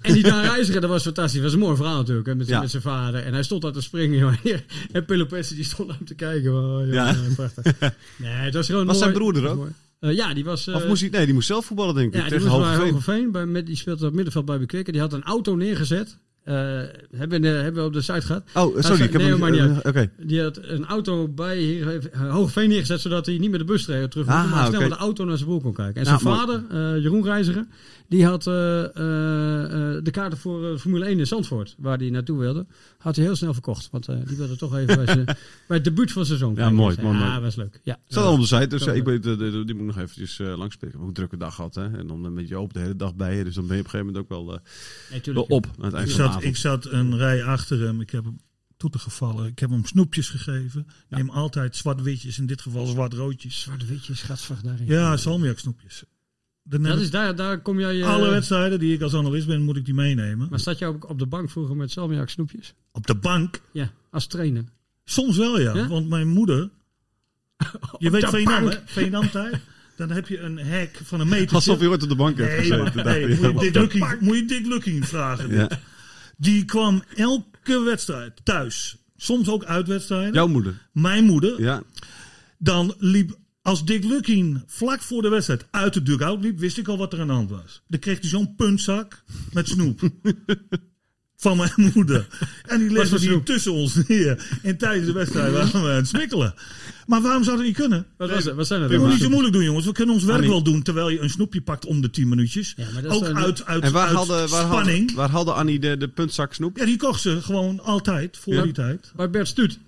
Speaker 1: En die daar reiziger, dat was fantastisch. Dat was een mooi verhaal natuurlijk, hè, met, zijn-
Speaker 2: Ja.
Speaker 1: met zijn vader. En hij stond daar te springen, joh. En Pelopessi die stond naar hem te kijken. Oh, joh,
Speaker 2: Ja.
Speaker 1: ja, prachtig. Nee, het was gewoon
Speaker 2: Was
Speaker 1: mooi.
Speaker 2: zijn broer
Speaker 1: Dat
Speaker 2: er
Speaker 1: was
Speaker 2: ook?
Speaker 1: mooi. Eh, ja, die was... eh,
Speaker 2: Of moest hij, nee, die moest zelf voetballen denk ik,
Speaker 1: ja, die
Speaker 2: tegen
Speaker 1: moest bij
Speaker 2: Hogeveen.
Speaker 1: Hogeveen. Bij, met, die speelde op het middenveld bij Bekeken. Die had een auto neergezet. eh, hebben, we, eh, hebben we op de site gehad.
Speaker 2: Oh,
Speaker 1: sorry,
Speaker 2: sorry.
Speaker 1: ik
Speaker 2: Ik
Speaker 1: heb
Speaker 2: heb
Speaker 1: nee, hem niet- maar niet uit.
Speaker 2: Oké.
Speaker 1: Die had een auto bij hier, eh, Hoogveen neergezet, zodat hij niet met de bus reed. Terug moest,
Speaker 2: Ah,
Speaker 1: maar snel
Speaker 2: oké.
Speaker 1: met de auto naar zijn boel kon kijken. En
Speaker 2: Nou,
Speaker 1: zijn
Speaker 2: mooi.
Speaker 1: vader, eh, Jeroen Reiziger, die had eh, eh, eh, de kaarten voor eh, Formule 1 in Zandvoort, waar hij naartoe wilde. Had hij heel snel verkocht, want eh, die wilde toch even bij, zijn- bij het debuut van zijn zoon kijken.
Speaker 2: mooi,
Speaker 1: Dus,
Speaker 2: mooi,
Speaker 1: Ja,
Speaker 2: mooi.
Speaker 1: was leuk. Ja,
Speaker 2: Het staat al op de site, dus
Speaker 1: Zo
Speaker 2: ja, ik
Speaker 1: leuk.
Speaker 2: weet, de- de- de- die moet ik nog eventjes eh langspelen. Ik heb ook een drukke dag gehad, hè. En dan eh, met Joop de hele dag bij je. Dus dan ben je op een gegeven moment ook wel, eh,
Speaker 1: Nee,
Speaker 2: wel
Speaker 1: tuurlijk,
Speaker 2: op aan het
Speaker 3: Ik
Speaker 2: eind van de
Speaker 3: zat,
Speaker 2: avond.
Speaker 3: ik zat een rij achter hem. Ik heb hem toeten gevallen. Ik heb hem snoepjes gegeven.
Speaker 2: Ja.
Speaker 3: Neem altijd zwart-witjes, in dit geval zwart-roodjes.
Speaker 1: Zwarte witjes, gatsvracht daarin.
Speaker 3: Ja, salmiak snoepjes.
Speaker 1: dat is dus daar, daar kom jij... eh,
Speaker 3: alle wedstrijden die ik als analist ben, moet ik die meenemen.
Speaker 1: maar zat je ook op de bank vroeger met salmiak snoepjes?
Speaker 3: Op de bank,
Speaker 1: Ja, als trainer.
Speaker 3: soms wel ja.
Speaker 1: Ja?
Speaker 3: Want mijn moeder, je weet
Speaker 1: de
Speaker 3: Veenam,
Speaker 1: bank.
Speaker 3: hè? Veenam tijd. Dan heb je een hek van een meter.
Speaker 2: Alsof je ooit op de bank hebt
Speaker 3: Nee,
Speaker 2: gezeten.
Speaker 3: maar,
Speaker 2: dacht
Speaker 3: hey,
Speaker 2: ik.
Speaker 3: moet, je Dick Lucking, moet je Dick Lucking vragen.
Speaker 2: Ja.
Speaker 3: Die kwam elke wedstrijd thuis. Soms ook uitwedstrijden.
Speaker 2: Jouw moeder.
Speaker 3: Mijn moeder.
Speaker 2: Ja.
Speaker 3: Dan liep, als Dick Lucking vlak voor de wedstrijd uit de dugout liep, wist ik al wat er aan de hand was. Dan kreeg hij zo'n puntzak met snoep. Van mijn moeder. En die legde
Speaker 1: voor
Speaker 3: die
Speaker 1: snoep?
Speaker 3: tussen ons neer. En tijdens de wedstrijd waren we aan het smikkelen. Maar waarom zou dat niet kunnen?
Speaker 1: Wat, was dat? Wat zijn dat?
Speaker 3: We
Speaker 1: dan?
Speaker 3: moeten niet zo moeilijk doen, jongens. We kunnen ons werk
Speaker 2: nee.
Speaker 3: wel doen terwijl je een snoepje pakt om de 10 minuutjes.
Speaker 1: Ja, maar dat is
Speaker 3: Ook
Speaker 1: dan-
Speaker 3: uit, uit,
Speaker 2: En waar
Speaker 3: uit
Speaker 2: haalde, waar
Speaker 3: spanning.
Speaker 2: haalde, waar haalde Annie de, de puntzak snoep?
Speaker 3: Ja, die kocht ze gewoon altijd voor
Speaker 2: Ja.
Speaker 3: die tijd.
Speaker 1: Bij Bert Stuut.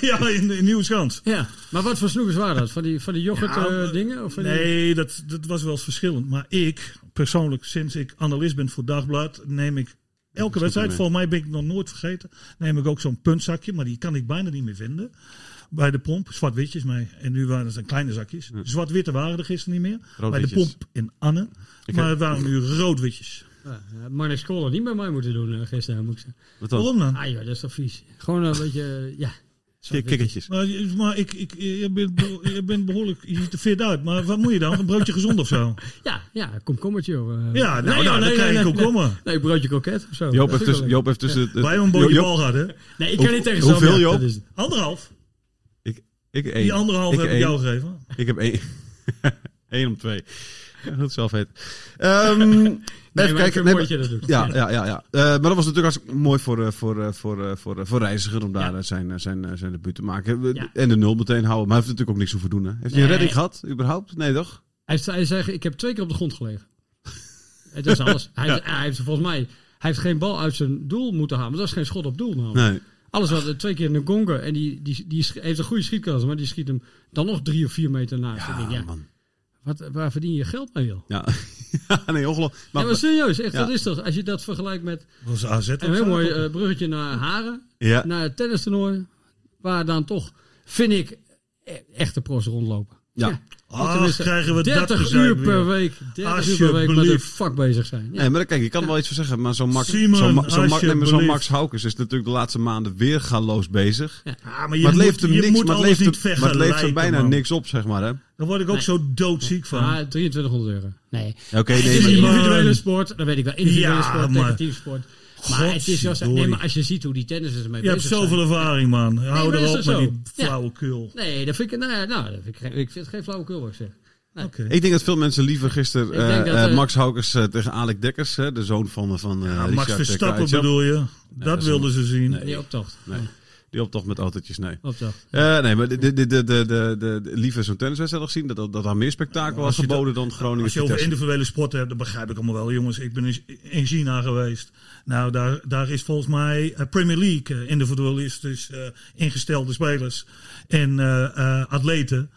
Speaker 3: ja, in, in Nieuwschans.
Speaker 1: Ja, maar wat voor snoepers waren dat? Van die, van die yoghurt eh,
Speaker 3: Ja, Ah, maar-
Speaker 1: dingen? Of van die-
Speaker 3: Nee, dat, dat was wel eens verschillend. Maar ik, persoonlijk, sinds ik analist ben voor Dagblad, neem ik elke wedstrijd,
Speaker 2: mee.
Speaker 3: volgens mij ben ik het nog nooit vergeten, neem ik ook zo'n puntzakje, maar die kan ik bijna niet meer vinden. Bij de pomp, zwart-witjes, maar, en nu waren het dan kleine zakjes. Zwart-witte waren er gisteren niet meer. Bij de
Speaker 2: Roodwitjes.
Speaker 3: pomp in Anne.
Speaker 2: Ik
Speaker 3: maar
Speaker 2: heb-
Speaker 3: het waren nu roodwitjes.
Speaker 1: Ja, eh, Marnix Kool had niet bij mij moeten doen eh, gisteren, moet ik zeggen.
Speaker 2: Wat dan?
Speaker 3: Waarom dan?
Speaker 1: Ah joh, dat is toch vies. Gewoon een beetje, eh, ja.
Speaker 2: Kik- Kikkertjes.
Speaker 3: Maar, maar ik, ik, je, bent, beho- je bent behoorlijk, je ziet er fit uit. Maar wat moet je dan? Een broodje gezond of zo?
Speaker 2: Dus-
Speaker 1: Ja, ja, komkommertje. joh. eh.
Speaker 3: Ja, nou,
Speaker 1: joh,
Speaker 3: nou, dan krijg ik ook komen.
Speaker 1: Nee, broodje kroket of zo.
Speaker 2: Joop
Speaker 1: Dat
Speaker 2: heeft
Speaker 1: vind ik
Speaker 2: tussen...
Speaker 1: wel
Speaker 2: Joop heeft tussen het- het-
Speaker 3: Wij hebben een
Speaker 2: Joop-
Speaker 3: bootje
Speaker 2: Joop-
Speaker 3: bal gehad, hè?
Speaker 1: leuk. Nee, ik kan
Speaker 2: Hoe-
Speaker 1: niet tegen
Speaker 2: hoeveel,
Speaker 1: salmiak,
Speaker 2: Joop?
Speaker 1: dat is het.
Speaker 3: Anderhalf.
Speaker 2: Ik, ik één.
Speaker 3: Die anderhalf
Speaker 2: Ik
Speaker 3: heb ik
Speaker 2: één.
Speaker 3: jou gegeven.
Speaker 2: Ik heb één. Eén om twee. Ja, Dat is wel vet. Ehm,
Speaker 1: maar ik
Speaker 2: even
Speaker 1: vind het
Speaker 2: kijken.
Speaker 1: mooi
Speaker 2: maar-
Speaker 1: dat je dat doet.
Speaker 2: Ja, ja, ja. ja. Eh, maar dat was natuurlijk hartstikke mooi voor, eh, voor, eh, voor, eh, voor, eh, voor Reiziger om daar
Speaker 1: Ja.
Speaker 2: eh, zijn, eh, zijn, eh, zijn debuut te maken. We-
Speaker 1: Ja.
Speaker 2: En de nul meteen houden. Maar hij heeft natuurlijk ook niks hoeven doen. Hè? Heeft hij een
Speaker 1: Nee.
Speaker 2: redding gehad, überhaupt? Nee, toch?
Speaker 1: Hij, zei- hij zegt, ik heb twee keer op de grond gelegen. Het is alles. Hij, hij heeft volgens mij, hij heeft geen bal uit zijn doel moeten halen. want Dat is geen schot op doel namelijk.
Speaker 2: Nee.
Speaker 1: Alles wat eh, twee keer een gonker. En die, die, die sch- heeft een goede schietkans, maar die schiet hem dan nog drie of vier meter naast. Ik denk,
Speaker 2: Ja,
Speaker 1: ja,
Speaker 2: Ah, man.
Speaker 1: wat, waar verdien je geld mee, joh?
Speaker 2: Ja, nee, ongelooflijk.
Speaker 1: Maar,
Speaker 2: Maar,
Speaker 1: ja, maar serieus, echt,
Speaker 2: ja.
Speaker 1: dat is toch. Als je dat vergelijkt met
Speaker 3: was AZ.
Speaker 1: een heel mooi
Speaker 3: Ah,
Speaker 1: eh, bruggetje naar Haren,
Speaker 2: ja,
Speaker 1: naar het tennistoernooi, waar dan toch, vind ik, e- echte pros rondlopen.
Speaker 2: ja.
Speaker 3: Ah,
Speaker 1: Tenminste,
Speaker 3: krijgen we
Speaker 1: 30
Speaker 3: dat
Speaker 1: uur per week, 30 uur per week met een
Speaker 3: Alsjeblieft.
Speaker 1: vak bezig zijn. Ja.
Speaker 2: Nee, maar kijk, je kan er wel iets voor zeggen. Maar zo'n Max,
Speaker 3: Simon,
Speaker 2: zo'n Ma- zo'n Max, nee, maar zo'n
Speaker 3: alsjeblieft.
Speaker 2: Max Haukes is natuurlijk de laatste maanden weer gaanloos bezig.
Speaker 3: Ja, maar je
Speaker 2: Maar het
Speaker 3: moet,
Speaker 2: leeft hem
Speaker 3: je
Speaker 2: niks,
Speaker 3: moet
Speaker 2: maar het
Speaker 3: alles
Speaker 2: leeft,
Speaker 3: niet
Speaker 2: hem, maar het leeft
Speaker 3: vergelijken,
Speaker 2: hem bijna
Speaker 3: man.
Speaker 2: niks op, zeg maar. Hè?
Speaker 3: Daar word ik ook
Speaker 1: Nee.
Speaker 3: zo doodziek van.
Speaker 1: Ah, 2300 euro. Nee.
Speaker 2: Ja, Oké,
Speaker 1: Het
Speaker 2: nee,
Speaker 1: is
Speaker 2: maar
Speaker 1: een
Speaker 3: maar-
Speaker 1: individuele sport, dat weet ik wel. Individuele
Speaker 3: Ja,
Speaker 1: sport,
Speaker 3: maar-
Speaker 1: negatief sport. Maar het is juist, nee,
Speaker 3: Godverdorie.
Speaker 1: maar als je ziet hoe die tennissers ermee
Speaker 3: je hebt
Speaker 1: bezig zijn.
Speaker 3: zoveel ervaring, man. Hou
Speaker 1: maar
Speaker 3: er
Speaker 1: is
Speaker 3: op
Speaker 1: dat
Speaker 3: met
Speaker 1: zo?
Speaker 3: die
Speaker 1: Ja.
Speaker 3: flauwekul.
Speaker 1: Nee, dat vind ik, nou, ja, nou dat vind ik, geen- ik vind het geen flauwekul wat ik zeg.
Speaker 3: Oké.
Speaker 2: Ik denk dat veel mensen liever gisteren
Speaker 1: Ik denk
Speaker 2: eh,
Speaker 1: dat,
Speaker 2: eh,
Speaker 1: eh,
Speaker 2: Max Haukes eh, tegen Alec Dekkers, hè, de zoon van, van eh,
Speaker 3: Ja,
Speaker 2: Richard
Speaker 3: Max Verstappen
Speaker 2: Krajicek.
Speaker 3: bedoel je?
Speaker 2: dat
Speaker 3: Dat
Speaker 2: is
Speaker 3: wilden ze zien.
Speaker 1: Die optocht.
Speaker 2: Nee, die optocht met autootjes, nee.
Speaker 1: Optocht.
Speaker 2: Eh, nee, maar de, de, de, de, de, de, de- liever zo'n tenniswedstrijd gezien. Dat, dat, dat daar meer spektakel was
Speaker 3: als je
Speaker 2: geboden dan Groningen
Speaker 3: Als je over
Speaker 2: Vitesse.
Speaker 3: individuele sporten hebt, dat begrijp ik allemaal wel, jongens. Ik ben in- in China geweest. Nou, daar, daar is volgens mij eh, Premier League eh, individualistisch eh, ingestelde spelers en eh, eh, atleten.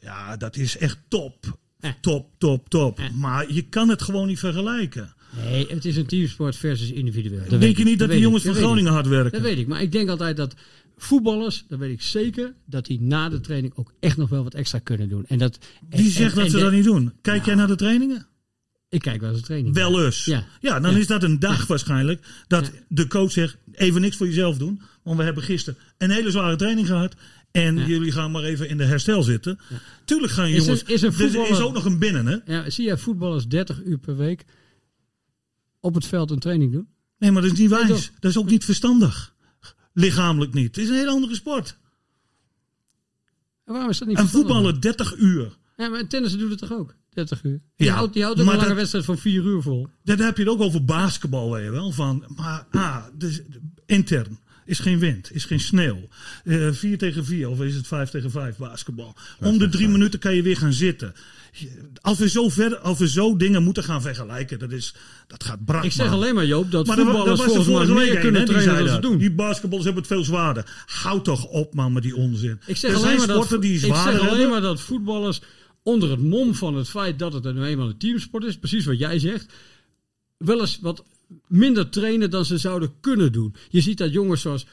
Speaker 3: Ja, dat is echt top.
Speaker 1: Eh.
Speaker 3: Top, top, top.
Speaker 1: Eh.
Speaker 3: Maar je kan het gewoon niet vergelijken.
Speaker 1: Nee, het is een teamsport versus individueel. Dat weet
Speaker 3: Denk je niet dat
Speaker 1: weet
Speaker 3: die jongens
Speaker 1: ik,
Speaker 3: van
Speaker 1: dat weet
Speaker 3: Groningen hard
Speaker 1: ik. Dat
Speaker 3: werken?
Speaker 1: weet ik, maar ik denk altijd dat voetballers, dat weet ik zeker, dat die na de training ook echt nog wel wat extra kunnen doen. En dat, en-
Speaker 3: Wie zegt
Speaker 1: en-
Speaker 3: dat
Speaker 1: en
Speaker 3: ze
Speaker 1: de- Nou.
Speaker 3: dat niet doen? Kijk jij naar de trainingen?
Speaker 1: Ik kijk wel eens de training.
Speaker 3: Wel eens.
Speaker 1: Ja.
Speaker 3: Ja, dan
Speaker 1: Ja.
Speaker 3: is dat een dag waarschijnlijk dat
Speaker 1: Ja.
Speaker 3: de coach zegt: even niks voor jezelf doen. Want we hebben gisteren een hele zware training gehad. En
Speaker 1: Ja.
Speaker 3: jullie gaan maar even in de herstel zitten. Tuurlijk gaan
Speaker 1: Is een-
Speaker 3: jongens.
Speaker 1: is een
Speaker 3: er is,
Speaker 1: voetballer-
Speaker 3: ook nog een binnen, hè?
Speaker 1: Ja, zie jij voetballers 30 uur per week op het veld een training doen?
Speaker 3: Nee, maar dat is niet wijs.
Speaker 1: toch?
Speaker 3: dat is ook niet verstandig. Lichamelijk niet. Het is een heel andere sport.
Speaker 1: En waarom is dat niet
Speaker 3: Een
Speaker 1: verstandig?
Speaker 3: voetballer 30 uur.
Speaker 1: Ja, maar tennissen doet het toch ook? 30 uur. Die
Speaker 3: Ja,
Speaker 1: houdt, die houdt ook
Speaker 3: maar
Speaker 1: een lange
Speaker 3: dat-
Speaker 1: wedstrijd van 4 uur vol.
Speaker 3: Daar heb je het ook over basketbal, weet je wel. Van, maar ah, dus, intern is geen wind, is geen sneeuw. Eh 4 tegen 4 of is het 5 tegen 5 basketbal. Om de drie minuten kan je weer gaan zitten. Je- Als we zo, verder, als we zo dingen moeten gaan vergelijken, dat, is, dat gaat brak.
Speaker 1: Ik zeg
Speaker 3: man.
Speaker 1: alleen maar, Joop, dat
Speaker 3: Maar dat, wa- dat
Speaker 1: voetballers
Speaker 3: was de
Speaker 1: volgens
Speaker 3: vorige
Speaker 1: mij
Speaker 3: week
Speaker 1: meer
Speaker 3: een,
Speaker 1: kunnen
Speaker 3: hè, die
Speaker 1: trainen
Speaker 3: zei
Speaker 1: dan ze
Speaker 3: dat.
Speaker 1: doen.
Speaker 3: Die basketballers hebben het veel zwaarder. Houd toch op, man, met die onzin.
Speaker 1: Ik zeg,
Speaker 3: er
Speaker 1: alleen
Speaker 3: zijn
Speaker 1: maar, dat,
Speaker 3: sporten die
Speaker 1: ik zeg
Speaker 3: zwaarder
Speaker 1: alleen
Speaker 3: hebben.
Speaker 1: maar dat voetballers onder het mom van het feit dat het nu eenmaal een teamsport is, precies wat jij zegt, wel eens wat minder trainen dan ze zouden kunnen doen. Je ziet dat jongens zoals,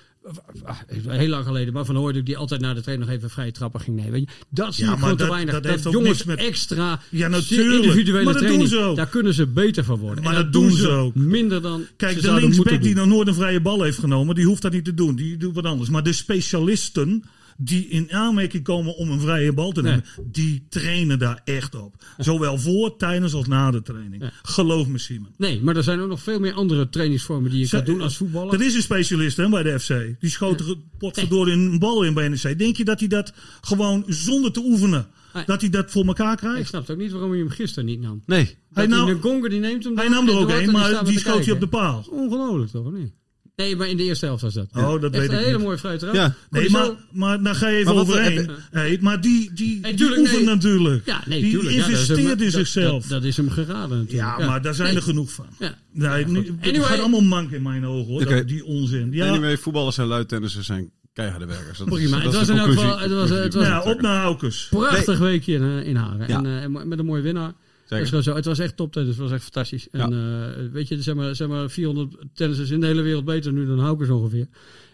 Speaker 1: ah, heel lang geleden, maar van Hooydonk die altijd na de training nog even vrije trappen ging nemen. Weet je, Dat zie
Speaker 3: Ja,
Speaker 1: ik
Speaker 3: maar
Speaker 1: gewoon te
Speaker 3: dat-
Speaker 1: weinig.
Speaker 3: dat
Speaker 1: Dat,
Speaker 3: heeft ook
Speaker 1: jongens
Speaker 3: niks met-
Speaker 1: extra
Speaker 3: Ja, natuurlijk.
Speaker 1: individuele
Speaker 3: Maar dat doen
Speaker 1: training,
Speaker 3: ze ook.
Speaker 1: daar kunnen ze beter van worden.
Speaker 3: Maar
Speaker 1: En
Speaker 3: dat doen ze ook.
Speaker 1: Minder dan ze
Speaker 3: Kijk, de
Speaker 1: zouden moeten
Speaker 3: linksback die
Speaker 1: doen.
Speaker 3: nog nooit een vrije bal heeft genomen, die hoeft dat niet te doen. Die doet wat anders. Maar de specialisten die in aanmerking komen om een vrije bal te nemen, die trainen daar echt op. Zowel voor, tijdens als na de training.
Speaker 1: Ja.
Speaker 3: Geloof me, Simon.
Speaker 1: Nee, maar er zijn ook nog veel meer andere trainingsvormen die je kan
Speaker 3: Zij-
Speaker 1: doen als voetballer.
Speaker 3: Dat is een specialist hè, bij de FC. Die schoot er potverdorie een bal in bij NEC. Denk je dat hij dat gewoon zonder te oefenen,
Speaker 1: Nee.
Speaker 3: dat hij dat voor elkaar
Speaker 1: Ik
Speaker 3: krijgt?
Speaker 1: snap ook niet waarom je hem gisteren niet nam.
Speaker 2: Nee.
Speaker 1: Dat
Speaker 3: Hij
Speaker 1: hij
Speaker 3: nam-
Speaker 1: een gonger die neemt hem
Speaker 3: nou, Hij
Speaker 1: dan
Speaker 3: nam er
Speaker 1: en
Speaker 3: ook
Speaker 1: Duarte
Speaker 3: een, maar
Speaker 1: staat
Speaker 3: die
Speaker 1: te
Speaker 3: schoot hij op
Speaker 1: kijken.
Speaker 3: de paal.
Speaker 1: Ongelooflijk toch, of niet? Nee, maar in de eerste helft was dat.
Speaker 3: Oh, dat
Speaker 1: Echt
Speaker 3: weet ik
Speaker 1: een hele
Speaker 3: niet.
Speaker 1: mooie vrije trap.
Speaker 2: Ja.
Speaker 3: Nee,
Speaker 1: Kon hij
Speaker 3: maar,
Speaker 1: zo-
Speaker 3: maar dan ga je even
Speaker 2: Maar wat-
Speaker 3: overheen.
Speaker 2: heb-
Speaker 3: Hey, maar die, die,
Speaker 1: Nee,
Speaker 3: die
Speaker 1: tuurlijk,
Speaker 3: oefent
Speaker 1: nee.
Speaker 3: natuurlijk.
Speaker 1: Ja, nee,
Speaker 3: die
Speaker 1: tuurlijk. Ja, dat is hem-
Speaker 3: investeert in
Speaker 1: dat-
Speaker 3: zichzelf.
Speaker 1: Dat, dat is hem geraden natuurlijk.
Speaker 3: ja, maar daar zijn
Speaker 1: Nee.
Speaker 3: er genoeg van.
Speaker 1: Ja.
Speaker 3: Nee, nu, het
Speaker 1: Anyway.
Speaker 3: gaat allemaal mank in mijn ogen, hoor.
Speaker 2: Oké.
Speaker 3: dat- die onzin. Ja,
Speaker 2: Ja. Anyway, voetballers zijn lui, tennissers zijn keiharde werkers. Dat is-
Speaker 1: Prima.
Speaker 2: dat
Speaker 1: Het
Speaker 2: is
Speaker 1: was
Speaker 2: de
Speaker 1: in elk
Speaker 2: conclusie-
Speaker 1: geval- het was-
Speaker 2: conclusie
Speaker 1: het
Speaker 2: die
Speaker 1: was-
Speaker 2: we
Speaker 3: nou ja,
Speaker 2: moeten
Speaker 3: op naar Haukes.
Speaker 1: Prachtig weekje in, eh, in Haren.
Speaker 2: Ja.
Speaker 1: En, eh, en met een mooie winnaar.
Speaker 2: Zeker.
Speaker 1: Dus zo, het was echt top tennis. Het was echt fantastisch. En eh, weet je, zeg maar, zeg maar 400 tennissers in de hele wereld beter nu dan Haukers ongeveer.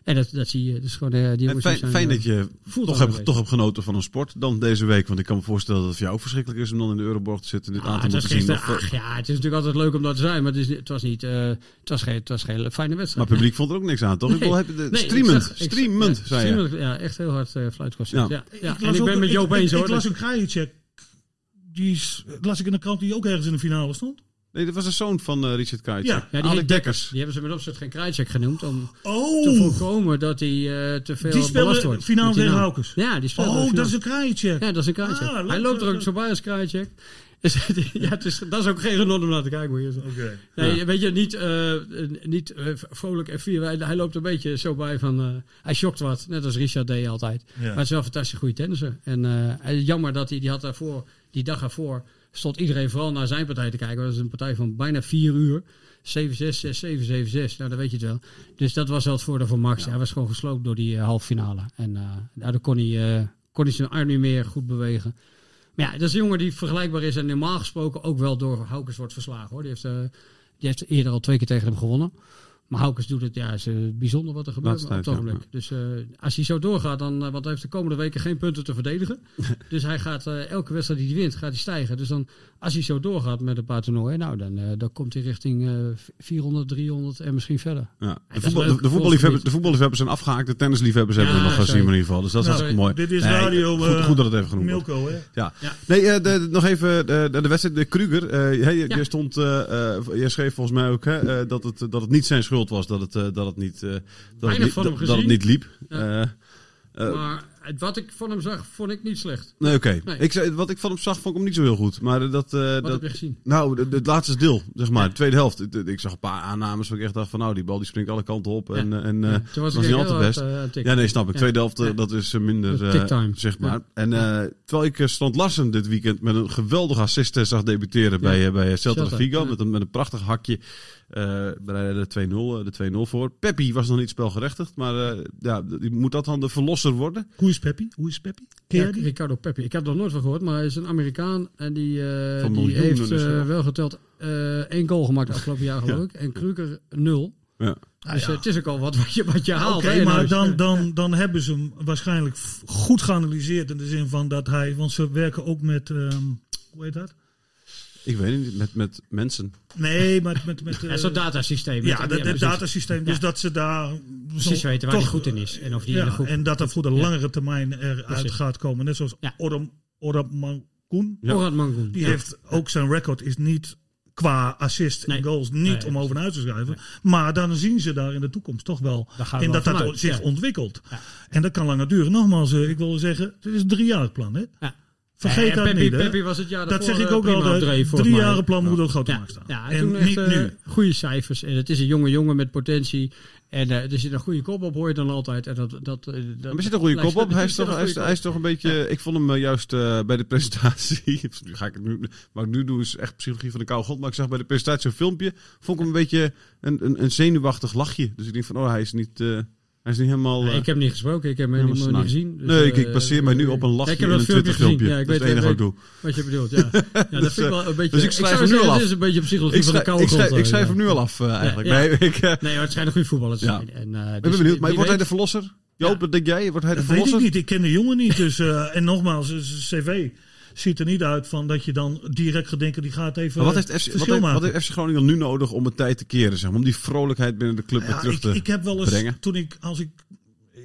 Speaker 1: En dat, dat zie je. Dus gewoon, eh, die
Speaker 2: En
Speaker 1: jongens die
Speaker 2: fijn,
Speaker 1: zijn,
Speaker 2: fijn
Speaker 1: eh,
Speaker 2: dat je
Speaker 1: voelt aan
Speaker 2: toch
Speaker 1: de
Speaker 2: hebt,
Speaker 1: week.
Speaker 2: toch hebt genoten van een sport dan deze week. Want ik kan me voorstellen dat het voor jou ook verschrikkelijk is om dan in de Euroborg te zitten en dit
Speaker 1: Ah,
Speaker 2: aan te
Speaker 1: het was
Speaker 2: moeten zien.
Speaker 1: gisteren-
Speaker 2: Of, eh,
Speaker 1: ach, ja, het is natuurlijk altijd leuk om dat te zijn, maar het, is, het was niet, eh, het was geen, het was geen fijne
Speaker 2: maar
Speaker 1: wedstrijd.
Speaker 2: het publiek vond er ook niks aan, toch? Ik
Speaker 1: Nee,
Speaker 2: bedoel, heb je de,
Speaker 1: nee, ik
Speaker 2: streamend,
Speaker 1: zag- ik zag-
Speaker 2: streamend,
Speaker 1: ja,
Speaker 2: zei je.
Speaker 1: streamend, Ja, echt heel hard eh fluitconcert.
Speaker 2: Ja.
Speaker 1: Ja. Ja.
Speaker 3: las
Speaker 1: en ik
Speaker 3: ook
Speaker 1: ben
Speaker 3: een-
Speaker 1: met Joop
Speaker 3: ik-
Speaker 1: eens
Speaker 3: ik-
Speaker 1: hoor.
Speaker 3: Ik las
Speaker 1: dat-
Speaker 3: een Krajicek. Die is, las ik in de krant die ook ergens in de finale stond.
Speaker 2: Nee, dat was de zoon van eh, Richard Kaitje.
Speaker 3: Ja.
Speaker 1: ja, die,
Speaker 2: Alec Dekkers.
Speaker 1: die hebben ze met opzet geen kruidcheck genoemd om te
Speaker 3: Oh,
Speaker 1: voorkomen dat hij eh, te veel
Speaker 3: Die speelde
Speaker 1: belast wordt.
Speaker 3: finale
Speaker 1: Met die
Speaker 3: tegen
Speaker 1: naam.
Speaker 3: Haukes.
Speaker 1: Ja, die speelde
Speaker 3: oh
Speaker 1: finale.
Speaker 3: dat is een Krajicek.
Speaker 1: Ja, dat is een kruidcheck.
Speaker 3: Ah, leuk,
Speaker 1: Hij loopt er
Speaker 3: leuk,
Speaker 1: ook zo bij als kruidcheck. ja, het is, dat is ook geen genot om naar te kijken hoe je zo.
Speaker 3: Oké.
Speaker 1: Nee, weet je, niet, eh, eh, niet eh, vrolijk en fier. Hij, hij loopt een beetje zo bij van... eh, hij shockt wat, net als Richard deed altijd.
Speaker 3: Ja.
Speaker 1: Maar het is wel een fantastisch goede tennisser. En eh, hij- jammer dat hij, die had daarvoor, die dag ervoor... stond iedereen vooral naar zijn partij te kijken. Dat was een partij van bijna vier uur. 7-6, 6-7, 7-6. Nou, dat weet je het wel. Dus dat was wel het voordeel van Max. Hij was gewoon gesloopt door die eh, halve finale. En eh, daardoor kon hij, eh, kon hij zijn arm niet meer goed bewegen. Maar ja, dat is een jongen die vergelijkbaar is en normaal gesproken ook wel door Haukers wordt verslagen. Hoor. Die, heeft, eh, die heeft eerder al twee keer tegen hem gewonnen. Maar Haukers doet het, ja, is eh, bijzonder wat er gebeurt
Speaker 2: Laatste
Speaker 1: op het
Speaker 2: tijd, ja,
Speaker 1: ogenblik. Dus eh, als hij zo doorgaat, dan eh, want hij heeft de komende weken geen punten te verdedigen. dus hij gaat eh, elke wedstrijd die hij wint, gaat hij stijgen. Dus dan, als hij zo doorgaat met een paar toernooien, nou, dan, eh, dan komt hij richting eh, 400, 300 en misschien verder.
Speaker 2: Ja.
Speaker 1: dat
Speaker 2: De,
Speaker 1: is
Speaker 2: voetbal,
Speaker 1: leuk.
Speaker 2: de, de voetballiefhebbers,
Speaker 1: Volgens
Speaker 2: de voetballiefhebbers zijn afgehaakt, de tennisliefhebbers hebben
Speaker 1: Ja,
Speaker 2: we nog gezien
Speaker 1: sorry.
Speaker 2: in ieder geval. Dus dat is
Speaker 1: Nou,
Speaker 2: hartstikke mooi.
Speaker 3: Dit is
Speaker 2: Nee,
Speaker 3: radio
Speaker 2: goed,
Speaker 3: eh,
Speaker 2: goed dat het even genoemd wordt.
Speaker 3: Milko, hè?
Speaker 2: Ja. Nee, eh, de- nog even de, de, de wedstrijd. De Kruger, eh, jij,
Speaker 1: Ja.
Speaker 2: jij stond, eh, eh, jij schreef volgens mij ook hè, eh, dat, het, dat het niet zijn schuld was. Dat het, eh, dat het, niet, eh, dat het,
Speaker 1: Weinig
Speaker 2: niet,
Speaker 1: van
Speaker 2: dat,
Speaker 1: hem
Speaker 2: dat het
Speaker 1: gezien.
Speaker 2: niet liep.
Speaker 1: Ja.
Speaker 2: Eh, eh,
Speaker 1: maar het- wat ik van hem zag, vond ik niet slecht.
Speaker 2: nee, oké.
Speaker 1: Nee.
Speaker 2: Ik zei- wat ik van hem zag, vond ik hem niet zo heel goed. Maar eh, dat, eh,
Speaker 1: Wat
Speaker 2: dat,
Speaker 1: heb je gezien?
Speaker 2: nou, de- de- het laatste deel, zeg maar, de tweede helft. Ik, ik zag een paar aannames waar ik echt dacht van, nou, die bal die springt alle kanten op. En, eh, en eh,
Speaker 1: Ja, toen
Speaker 2: was
Speaker 1: ik
Speaker 2: niet
Speaker 1: heel
Speaker 2: altijd best.
Speaker 1: hard, eh, aan het tikken.
Speaker 2: Ja, nee, snap ik.
Speaker 1: Ja.
Speaker 2: Tweede helft, eh,
Speaker 1: Ja.
Speaker 2: dat is eh,
Speaker 1: Dat
Speaker 2: minder,
Speaker 1: is tick
Speaker 2: eh,
Speaker 1: time.
Speaker 2: zeg maar.
Speaker 1: Ja.
Speaker 2: En eh, terwijl ik eh, Strand Larsen dit weekend met een geweldige assist eh, zag debuteren bij, eh, bij Celta de
Speaker 1: Celta,
Speaker 2: Vigo.
Speaker 1: ja.
Speaker 2: Met, een, met een prachtig hakje. eh bereidde de 2-0 eh, de 2-0 voor. Peppi was nog niet spelgerechtigd, maar eh, ja, die, moet dat dan de verlosser worden?
Speaker 3: Hoe is Peppi? Hoe is Peppi? Ken
Speaker 1: Ja,
Speaker 3: jij die?
Speaker 1: Ricardo Pepi. Ik heb er nog nooit van gehoord, maar hij is een Amerikaan. En die, eh,
Speaker 2: Van
Speaker 1: die
Speaker 2: miljoenen
Speaker 1: heeft
Speaker 2: is
Speaker 1: eh,
Speaker 2: er.
Speaker 1: wel geteld eh één goal gemaakt afgelopen jaar, geloof ik. En Kruger nul.
Speaker 2: Ja.
Speaker 3: Ah,
Speaker 1: dus eh,
Speaker 3: ja.
Speaker 1: het is ook al wat, wat, je, wat je haalt.
Speaker 3: Oké,
Speaker 1: hè, in
Speaker 3: maar
Speaker 1: huis.
Speaker 3: dan, dan, dan hebben ze hem waarschijnlijk f- goed geanalyseerd. In de zin van dat hij. Want ze werken ook met. ehm, hoe heet dat?
Speaker 2: Ik weet niet, met, met mensen.
Speaker 3: Nee, met. met, met
Speaker 1: Ja,
Speaker 3: eh,
Speaker 1: Zo'n datasysteem.
Speaker 3: ja, dat
Speaker 1: precies.
Speaker 3: dat datasysteem. Dus
Speaker 1: Ja.
Speaker 3: dat ze daar.
Speaker 1: Precies weten waar hij goed in is. En of die in de
Speaker 3: Ja,
Speaker 1: groep.
Speaker 3: en dat dat voor de langere termijn eruit
Speaker 1: Precies.
Speaker 3: gaat komen. Net zoals
Speaker 1: Ja.
Speaker 3: Oram, Oram Mankoen.
Speaker 2: Ja.
Speaker 1: Orad Mangoen.
Speaker 3: Die heeft ook zijn record is niet qua assist en
Speaker 1: Nee.
Speaker 3: goals niet
Speaker 1: Nee,
Speaker 3: om over naar uit te schrijven. Maar dan zien ze daar in de toekomst toch wel
Speaker 1: Daar gaan we
Speaker 3: in
Speaker 1: wel
Speaker 3: dat dat
Speaker 1: vanuit,
Speaker 3: zich
Speaker 1: ja.
Speaker 3: ontwikkelt.
Speaker 1: Ja.
Speaker 3: En dat kan langer duren. Nogmaals, eh, ik wil zeggen, het is een driejarig plan. Hè?
Speaker 1: Ja.
Speaker 3: Vergeet
Speaker 1: Eh,
Speaker 3: dat
Speaker 1: Peppy,
Speaker 3: niet, hè?
Speaker 1: Peppy was het jaar
Speaker 3: Dat
Speaker 1: daarvoor,
Speaker 3: zeg ik
Speaker 1: eh,
Speaker 3: ook wel.
Speaker 1: prima
Speaker 3: De
Speaker 1: op dreef, volgens
Speaker 3: drie
Speaker 1: mij.
Speaker 3: jaren plan moet
Speaker 1: Ja.
Speaker 3: ook groot
Speaker 1: Ja,
Speaker 3: gemaakt staan.
Speaker 1: ja, en
Speaker 3: en
Speaker 1: toen echt,
Speaker 3: niet
Speaker 1: eh,
Speaker 3: nu.
Speaker 1: goede cijfers. En het is een jonge jongen met potentie. En eh, er zit een goede kop op, hoor je dan altijd. En dat, dat, eh, dat,
Speaker 2: Maar er zit een goede
Speaker 1: lijkt-
Speaker 2: kop op. Hij is
Speaker 1: zit
Speaker 2: toch,
Speaker 1: een
Speaker 2: hij is,
Speaker 1: goede
Speaker 2: hij is toch een beetje. Ik vond hem eh, juist eh, bij de presentatie. nu ga ik het nu. Wat ik nu doe is echt psychologie van de kou god. Maar ik zag bij de presentatie een filmpje. Vond ik hem een beetje een, een, een zenuwachtig lachje. Dus ik denk van, oh, hij is niet. eh, hij is niet helemaal.
Speaker 1: Nee,
Speaker 2: eh,
Speaker 1: ik heb hem niet gesproken, ik heb hem
Speaker 2: Helemaal
Speaker 1: helemaal niet
Speaker 2: snel.
Speaker 1: gezien. dus,
Speaker 2: nee, ik, ik
Speaker 1: eh,
Speaker 2: baseer mij nu op een
Speaker 1: eh,
Speaker 2: lachje
Speaker 1: ik
Speaker 2: en
Speaker 1: heb
Speaker 2: een Twitter
Speaker 1: filmpje gezien.
Speaker 2: filmpje.
Speaker 1: Ja, ik
Speaker 2: dat is
Speaker 1: weet
Speaker 2: het enige wat ik doe.
Speaker 1: wat je bedoelt. Ja, ja dat
Speaker 2: Dus,
Speaker 1: vind ik
Speaker 2: eh,
Speaker 1: wel een beetje.
Speaker 2: dus ik schrijf
Speaker 1: zou
Speaker 2: hem nu
Speaker 1: zeggen,
Speaker 2: al
Speaker 1: Dit
Speaker 2: af.
Speaker 1: is een beetje psychologie
Speaker 2: Ik
Speaker 1: van de
Speaker 2: schrijf,
Speaker 1: koude
Speaker 2: ik schrijf,
Speaker 1: grond,
Speaker 2: ik
Speaker 1: eh,
Speaker 2: schrijf
Speaker 1: ja.
Speaker 2: hem nu al af eh, eigenlijk.
Speaker 1: ja.
Speaker 2: Nee, ik, eh,
Speaker 1: Nee, hoor, het schijnt een goede voetballer te
Speaker 2: Ja.
Speaker 1: zijn. En, eh,
Speaker 2: ik
Speaker 1: dus
Speaker 2: ben
Speaker 1: wie-
Speaker 2: benieuwd. Maar
Speaker 1: wie
Speaker 2: wordt hij de
Speaker 1: weet-
Speaker 2: verlosser? Joop,
Speaker 1: Ja.
Speaker 2: dat denk jij? Wordt hij de
Speaker 3: Dat weet ik
Speaker 2: verlosser?
Speaker 3: niet. Ik ken de jongen niet. Dus, eh, en nogmaals, zijn cv ziet er niet uit van dat je dan direct gaat denken, die gaat even
Speaker 2: Maar wat heeft,
Speaker 3: eh,
Speaker 2: FC, wat,
Speaker 3: verschil
Speaker 2: heeft, wat
Speaker 3: maken.
Speaker 2: heeft FC Groningen nu nodig om het tijd te keren? Zeg maar? Om die vrolijkheid binnen de club weer
Speaker 3: Ja,
Speaker 2: terug
Speaker 3: ik,
Speaker 2: te...
Speaker 3: ik heb wel eens,
Speaker 2: brengen.
Speaker 3: toen ik, als ik eh,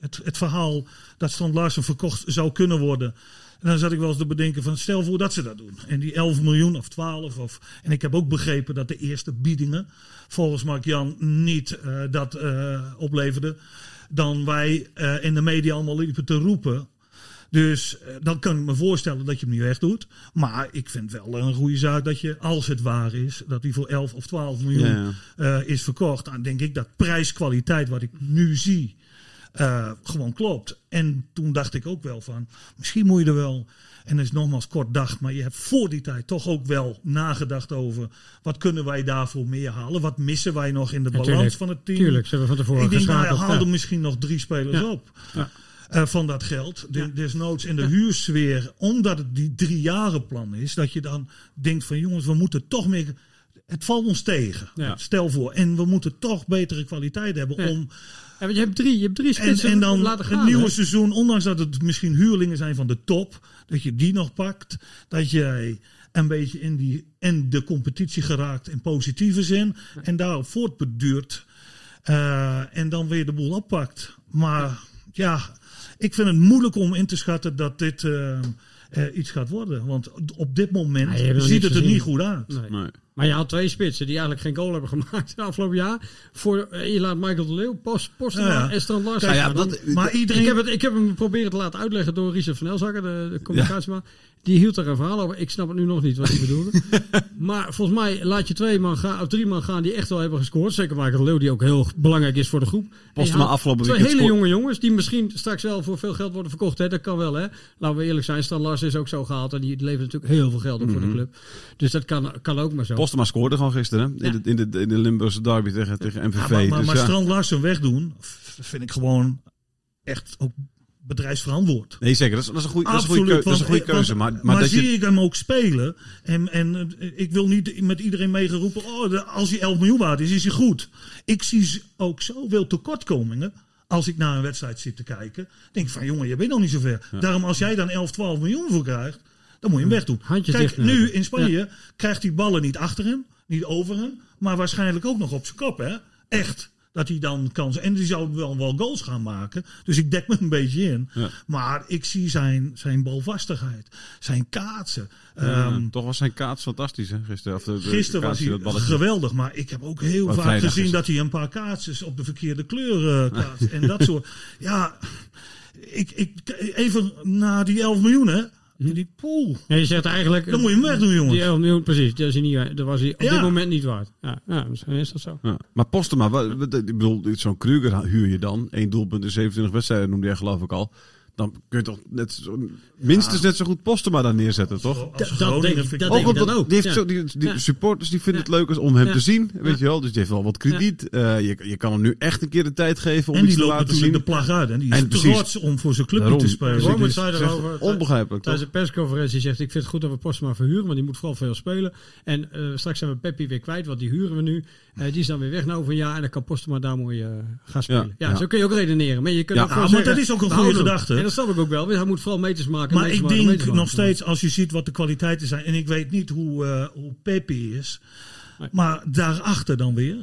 Speaker 3: het, het verhaal dat Strand Larsen verkocht zou kunnen worden. En dan zat ik wel eens te bedenken van stel voor dat ze dat doen. En die 11 miljoen of 12. Of, en ik heb ook begrepen dat de eerste biedingen volgens Mark Jan niet eh, dat eh opleverden. Dan wij eh, in de media allemaal liepen te roepen. Dus eh, dan kan ik me voorstellen dat je hem niet echt doet. Maar ik vind wel een goede zaak dat je, als het waar is, dat die voor 11 of 12 miljoen
Speaker 2: Ja,
Speaker 3: eh, is verkocht. Dan denk ik dat prijs-kwaliteit, wat ik nu zie, eh, gewoon klopt. En toen dacht ik ook wel van, misschien moet je er wel. En dat is nogmaals kort dag, maar je hebt voor die tijd toch ook wel nagedacht over wat kunnen wij daarvoor meer halen? Wat missen wij nog in de
Speaker 1: Ja,
Speaker 3: balans
Speaker 1: tuurlijk.
Speaker 3: van het team?
Speaker 1: Tuurlijk, ze hebben van tevoren
Speaker 3: Ik denk, nou,
Speaker 1: geschakeld.
Speaker 3: haal
Speaker 1: ja.
Speaker 3: er misschien nog drie spelers
Speaker 1: Ja.
Speaker 3: op.
Speaker 1: Ja.
Speaker 3: eh, van dat geld. De, Desnoods in de huursfeer. Omdat het die drie jaren plan is. Dat je dan denkt van jongens, we moeten toch meer... Het valt ons tegen.
Speaker 1: Ja.
Speaker 3: Stel voor. En we moeten toch betere kwaliteit hebben
Speaker 1: Ja.
Speaker 3: om...
Speaker 1: Ja, want je hebt drie, je hebt drie
Speaker 3: En,
Speaker 1: spitsen
Speaker 3: en dan
Speaker 1: laten gaan.
Speaker 3: het nieuwe
Speaker 1: hè?
Speaker 3: seizoen, ondanks dat het misschien huurlingen zijn van de top, dat je die nog pakt, dat jij een beetje in, die, in de competitie geraakt in positieve zin en daarop voortbeduurt eh, en dan weer de boel oppakt. Maar ja, ik vind het moeilijk om in te schatten dat dit eh, eh, iets gaat worden, want op dit moment
Speaker 1: Ja, Nou, je hebt nog
Speaker 3: ziet
Speaker 1: niks
Speaker 3: het er
Speaker 1: gezien.
Speaker 3: niet goed uit.
Speaker 1: Nee.
Speaker 2: Nee.
Speaker 1: Maar je had twee spitsen die eigenlijk geen goal hebben gemaakt het afgelopen jaar. Voor, eh, je laat Michael de Leeuw, Post, Postema
Speaker 3: Ja, ja.
Speaker 1: en Strand Larsen.
Speaker 2: Nou ja,
Speaker 1: gaan. Dan-
Speaker 2: dat-
Speaker 3: Maar iedereen,
Speaker 1: Ik, heb het, ik heb hem proberen te laten uitleggen door Richard van Elzakker, de, de communicatieman. Die hield daar een verhaal over. Ik snap het nu nog niet wat hij bedoelde. maar volgens mij laat je twee man gaan, of drie man gaan die echt wel hebben gescoord. Zeker Michael de Leeuw, die ook heel belangrijk is voor de groep. En je
Speaker 2: Postema
Speaker 1: haalt
Speaker 2: afgelopen
Speaker 1: Twee
Speaker 2: weekend
Speaker 1: hele
Speaker 2: scoor-
Speaker 1: jonge jongens die misschien straks wel voor veel geld worden verkocht. Hè? Dat kan wel, hè. Laten we eerlijk zijn. Stan Lars is ook zo gehaald. En die levert natuurlijk heel veel geld op voor
Speaker 3: Mhm.
Speaker 1: de club. Dus dat kan, kan ook maar zo.
Speaker 2: Postema scoorde gewoon gisteren hè?
Speaker 1: Ja.
Speaker 2: in, de, in, de, in de Limburgse derby tegen, tegen MVV.
Speaker 3: Ja, maar maar,
Speaker 2: Dus
Speaker 3: maar
Speaker 2: ja.
Speaker 3: Strand Larsen wegdoen v- vind ik gewoon echt ook bedrijfsverantwoord.
Speaker 2: Nee, zeker. Dat is, dat is een goede, dat is een goede keuze.
Speaker 3: Absoluut.
Speaker 2: Dat is een
Speaker 3: want-
Speaker 2: goede keuze.
Speaker 3: want-
Speaker 2: Maar, maar,
Speaker 3: maar
Speaker 2: dat
Speaker 3: zie
Speaker 2: je...
Speaker 3: ik hem ook spelen. En, en eh, ik wil niet met iedereen meegeroepen. Oh, de- als hij 11 miljoen waard is, is hij goed. Ik zie z- ook zoveel tekortkomingen. Als ik naar een wedstrijd zit te kijken. Denk ik van jongen, je bent nog niet zover. Daarom als jij dan 11, 12 miljoen voor krijgt. Dan moet je hem wegdoen.
Speaker 1: Handjes
Speaker 3: Kijk,
Speaker 1: dicht knippen.
Speaker 3: nu in Spanje krijgt hij ballen niet achter hem. Niet over hem. Maar waarschijnlijk ook nog op zijn kop. Hè? Echt. Dat hij dan kansen. En die zou wel, wel goals gaan maken. Dus ik dek me een beetje in.
Speaker 2: Ja.
Speaker 3: Maar ik zie zijn, zijn balvastigheid, zijn kaatsen.
Speaker 2: Ja,
Speaker 3: Ehm,
Speaker 2: toch was zijn kaats fantastisch hè, gisteren. Of de, de
Speaker 3: gisteren was
Speaker 2: kaatsie,
Speaker 3: hij
Speaker 2: dat balletje.
Speaker 3: geweldig, maar ik heb ook heel
Speaker 2: Maar
Speaker 3: vaak
Speaker 2: vrijdag
Speaker 3: gezien
Speaker 2: is-
Speaker 3: dat hij een paar kaatsers op de verkeerde kleur eh, kaatst. en dat soort. Ja, ik, ik, even na die 11 miljoen, hè?
Speaker 2: Hm?
Speaker 3: Die poel.
Speaker 1: Ja, je zegt eigenlijk...
Speaker 3: Dan moet je hem wegdoen,
Speaker 1: Die
Speaker 3: jongens.
Speaker 1: 11 miljoen, precies. Dat, is hij niet, dat was hij op
Speaker 3: Ja.
Speaker 1: dit moment niet waard. Ja, ja, misschien is dat zo.
Speaker 2: Ja. Maar Postema, wat- wat- ik bedoel, zo'n Kruger huur je dan. Eén doelpunt in 27 wedstrijden noemde jij geloof ik al. Dan kun je toch net zo, minstens net zo goed Postema daar neerzetten, toch?
Speaker 3: Als
Speaker 1: dat
Speaker 3: Groningen
Speaker 1: denk ik-
Speaker 3: vind
Speaker 1: dat
Speaker 3: wel-
Speaker 1: denk ik
Speaker 2: omdat-
Speaker 1: dan ook,
Speaker 2: Die, heeft
Speaker 1: ja.
Speaker 2: zo, die, die
Speaker 1: Ja.
Speaker 2: supporters die vinden
Speaker 1: Ja.
Speaker 2: het leuk is om hem
Speaker 1: Ja.
Speaker 2: te zien, weet
Speaker 1: Ja.
Speaker 2: je wel. Dus die heeft wel wat krediet. Eh, je, je kan hem nu echt een keer de tijd geven om
Speaker 3: En
Speaker 2: iets
Speaker 3: die
Speaker 2: te
Speaker 3: loopt
Speaker 2: laten
Speaker 3: natuurlijk
Speaker 2: zien.
Speaker 3: de plag uit. En die is
Speaker 2: En precies.
Speaker 3: trots om voor zijn clubje
Speaker 2: Daarom.
Speaker 3: te
Speaker 2: Dus
Speaker 3: spelen.
Speaker 2: ik
Speaker 1: Wormoed
Speaker 2: dus
Speaker 1: zei
Speaker 2: zeg,
Speaker 1: erover-
Speaker 2: Onbegrijpelijk, toch?
Speaker 1: Tijdens de persconferentie zegt ik vind het goed dat we Postma verhuren, want die moet vooral veel spelen. En eh, straks zijn we Peppi weer kwijt, want die huren we nu. Eh, die is dan weer weg na over een jaar en dan kan Postma daar mooi eh, gaan spelen. Ja,
Speaker 2: Ja.
Speaker 1: zo kun je ook redeneren. Ah, Maar, je kunt
Speaker 2: Ja.
Speaker 1: ook gewoon
Speaker 3: Ja, maar dat
Speaker 1: zeggen,
Speaker 3: is ook een
Speaker 1: we
Speaker 3: goede
Speaker 1: houden hem.
Speaker 3: gedachte.
Speaker 1: En dat snap ik ook wel, want hij moet vooral meters maken.
Speaker 3: Maar
Speaker 1: meters
Speaker 3: ik
Speaker 1: maken,
Speaker 3: denk
Speaker 1: meters maken.
Speaker 3: nog steeds, als je ziet wat de kwaliteiten zijn, en ik weet niet hoe, eh hoe Peppi is,
Speaker 1: Nee.
Speaker 3: maar daarachter dan weer,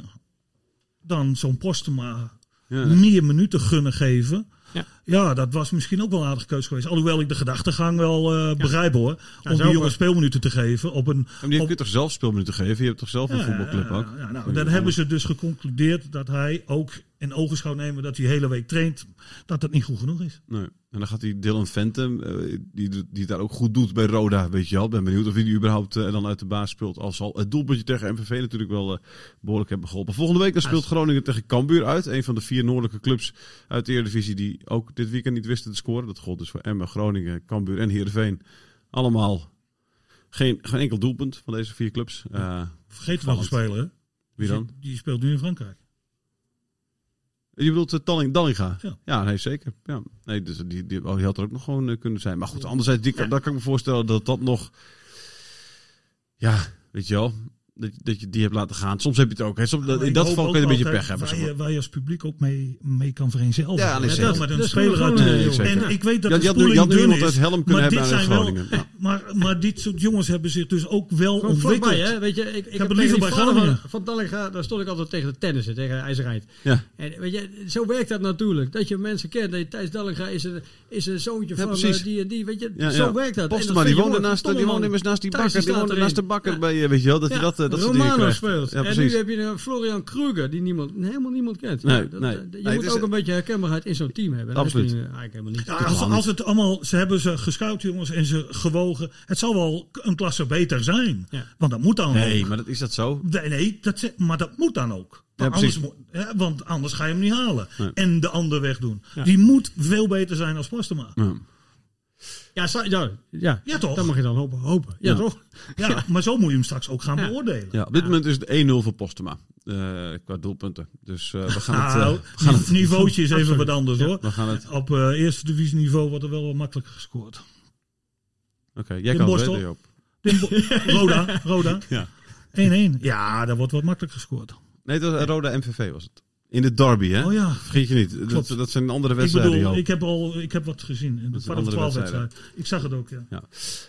Speaker 3: dan zo'n Postema
Speaker 2: Ja.
Speaker 3: meer minuten gunnen geven.
Speaker 1: Ja.
Speaker 3: Ja. dat was misschien ook wel een aardige keuze geweest. Alhoewel ik de gedachtegang wel eh, begrijp hoor. om
Speaker 1: zo
Speaker 3: die jongen
Speaker 1: maar.
Speaker 3: speelminuten te geven op een...
Speaker 2: Maar die
Speaker 3: op-
Speaker 2: kun je toch zelf
Speaker 3: Nou,
Speaker 2: speelminuten geven? Je hebt toch zelf een voetbalclub ook?
Speaker 3: ja, nou, dan hebben ze dus geconcludeerd dat hij ook in ogenschouw nemen dat hij de hele week traint, dat dat niet goed genoeg is.
Speaker 2: Nee. En dan gaat die Dylan Phantom, eh, die, die het daar ook goed doet bij Roda, weet je wel. Ik Ben benieuwd of hij die überhaupt eh, dan uit de baas speelt. Al zal het doelpuntje tegen MVV natuurlijk wel eh, behoorlijk hebben geholpen. Volgende week dan speelt Groningen tegen Cambuur uit. Een van de vier noordelijke clubs uit de Eredivisie die ook dit weekend niet wisten te scoren. Dat gold dus voor Emmen, Groningen, Cambuur en Heerenveen. Allemaal geen, geen enkel doelpunt van deze vier clubs. Eh,
Speaker 3: Vergeet er nog een
Speaker 2: Opvallend.
Speaker 3: speler. hè?
Speaker 2: wie dan?
Speaker 3: Die, die speelt nu in Frankrijk.
Speaker 2: Je bedoelt eh, Talling, Dallinga? Ja,
Speaker 3: Ja.
Speaker 2: nee, zeker. Ja. Nee, dus die, die, oh, die had er ook nog gewoon eh, kunnen zijn. Maar goed, anderzijds, die, daar kan ik me voorstellen dat dat nog... Ja, weet je wel. Dat, dat je die hebt laten gaan. Soms heb je het ook. Hè. Soms,
Speaker 3: Maar
Speaker 2: in
Speaker 3: ik
Speaker 2: dat
Speaker 3: hoop
Speaker 2: geval
Speaker 3: ook
Speaker 2: kun je een beetje
Speaker 3: altijd
Speaker 2: pech hebben.
Speaker 3: Waar
Speaker 2: Zeg maar.
Speaker 3: je, waar je eh, als publiek ook mee, mee kan vereenzelvigen.
Speaker 2: Ja, nee,
Speaker 3: Hè,
Speaker 2: zeker.
Speaker 3: dat met een
Speaker 1: Dat is
Speaker 3: speler
Speaker 1: gewoon,
Speaker 3: uit
Speaker 1: eh,
Speaker 3: de
Speaker 2: zeker.
Speaker 3: En ik weet dat
Speaker 2: Je had- je had
Speaker 3: de spoeling
Speaker 2: nu
Speaker 3: dun
Speaker 2: iemand uit
Speaker 3: is,
Speaker 2: Helm kunnen
Speaker 3: maar
Speaker 2: hebben
Speaker 3: dit
Speaker 2: aan de
Speaker 3: zijn
Speaker 2: Groningen. Ja.
Speaker 3: Wel, maar, maar dit soort jongens hebben zich dus ook wel
Speaker 1: Gewoon
Speaker 3: ontwikkeld.
Speaker 1: vlakbij, hè? Weet je, ik, ik
Speaker 3: heb het liever
Speaker 1: tegen die
Speaker 3: bij
Speaker 1: vader
Speaker 3: Groningen.
Speaker 1: Van, van Dallinga, daar stond ik altijd tegen de tennissen, tegen IJzerheid.
Speaker 2: Ja.
Speaker 1: En weet je, zo werkt dat natuurlijk. Dat je mensen kent. Dat je Thijs Dallinga is een, is een zoontje
Speaker 2: Ja,
Speaker 1: van
Speaker 2: precies.
Speaker 1: eh, die en die. Weet je,
Speaker 2: Ja,
Speaker 1: zo
Speaker 2: ja.
Speaker 1: werkt dat.
Speaker 2: Postema,
Speaker 1: En dat
Speaker 2: die
Speaker 1: vind je
Speaker 2: woonde
Speaker 1: mooi.
Speaker 2: naast, die
Speaker 1: Verdomme,
Speaker 2: woonde immers naast die
Speaker 1: Thijs,
Speaker 2: bakker. Die
Speaker 1: staat
Speaker 2: woonde
Speaker 1: erin.
Speaker 2: naast de bakker
Speaker 1: Ja.
Speaker 2: bij, eh, weet je wel, dat
Speaker 1: Ja,
Speaker 2: hij dat, eh, dat soort dingen
Speaker 1: Romano
Speaker 2: krijgt.
Speaker 1: speelt.
Speaker 2: Ja,
Speaker 1: en
Speaker 2: precies.
Speaker 1: nu heb je een Florian Kruger, die niemand, helemaal niemand kent.
Speaker 2: Nee,
Speaker 1: dat-
Speaker 2: nee.
Speaker 1: dat- je
Speaker 2: Nee, het
Speaker 1: moet
Speaker 2: is-
Speaker 1: ook een beetje herkenbaarheid in zo'n team hebben. Dat is
Speaker 2: Absoluut.
Speaker 1: nu Eigenlijk helemaal niet.
Speaker 3: Ja, als, als het allemaal, ze hebben ze geschuild jongens en ze gewogen. Het zal wel k- een klasse beter zijn.
Speaker 1: Ja.
Speaker 3: Want dat moet dan
Speaker 2: Nee,
Speaker 3: ook.
Speaker 2: maar dat, is dat zo?
Speaker 3: Nee, nee dat, ze- maar dat moet dan ook. Want,
Speaker 2: Ja,
Speaker 3: anders,
Speaker 2: precies.
Speaker 3: moet- hè, want anders ga je hem niet halen.
Speaker 2: Nee.
Speaker 3: En de ander wegdoen. Die moet veel beter zijn als Postema.
Speaker 2: Ja.
Speaker 1: Ja, zou- ja, ja.
Speaker 3: Ja, toch?
Speaker 1: Dat mag je dan hopen. hopen. Ja,
Speaker 2: Ja.
Speaker 1: toch?
Speaker 3: Ja, maar zo moet je hem straks ook gaan
Speaker 1: Ja.
Speaker 3: beoordelen.
Speaker 2: Ja, op dit moment is het 1-0 voor Postema. Eh, qua doelpunten. Dus eh, we gaan het... eh,
Speaker 3: Nou, het niveautje is even wat anders hoor.
Speaker 2: we gaan het... Oké,
Speaker 3: Op eh, eerste divisie niveau wordt er wel wat makkelijker gescoord.
Speaker 2: jij
Speaker 3: Tim
Speaker 2: kan het
Speaker 3: Borstel.
Speaker 2: weten, Joop.
Speaker 3: Tim Bo- Roda, Roda.
Speaker 2: Ja.
Speaker 3: 1-1. Ja, daar wordt wat makkelijker gescoord.
Speaker 2: Nee, het was Roda MVV was het. In de derby, hè?
Speaker 3: Oh ja.
Speaker 2: Vergeet je niet. Dat,
Speaker 3: Klopt.
Speaker 2: dat zijn andere
Speaker 3: Ik
Speaker 2: wedstrijden.
Speaker 3: bedoel,
Speaker 2: Joop.
Speaker 3: ik heb, al, ik heb wat gezien. In de
Speaker 2: is een
Speaker 3: Park
Speaker 2: andere
Speaker 3: 12
Speaker 2: wedstrijd,
Speaker 3: wedstrijd. Ik zag het ook, ja.
Speaker 2: Ja.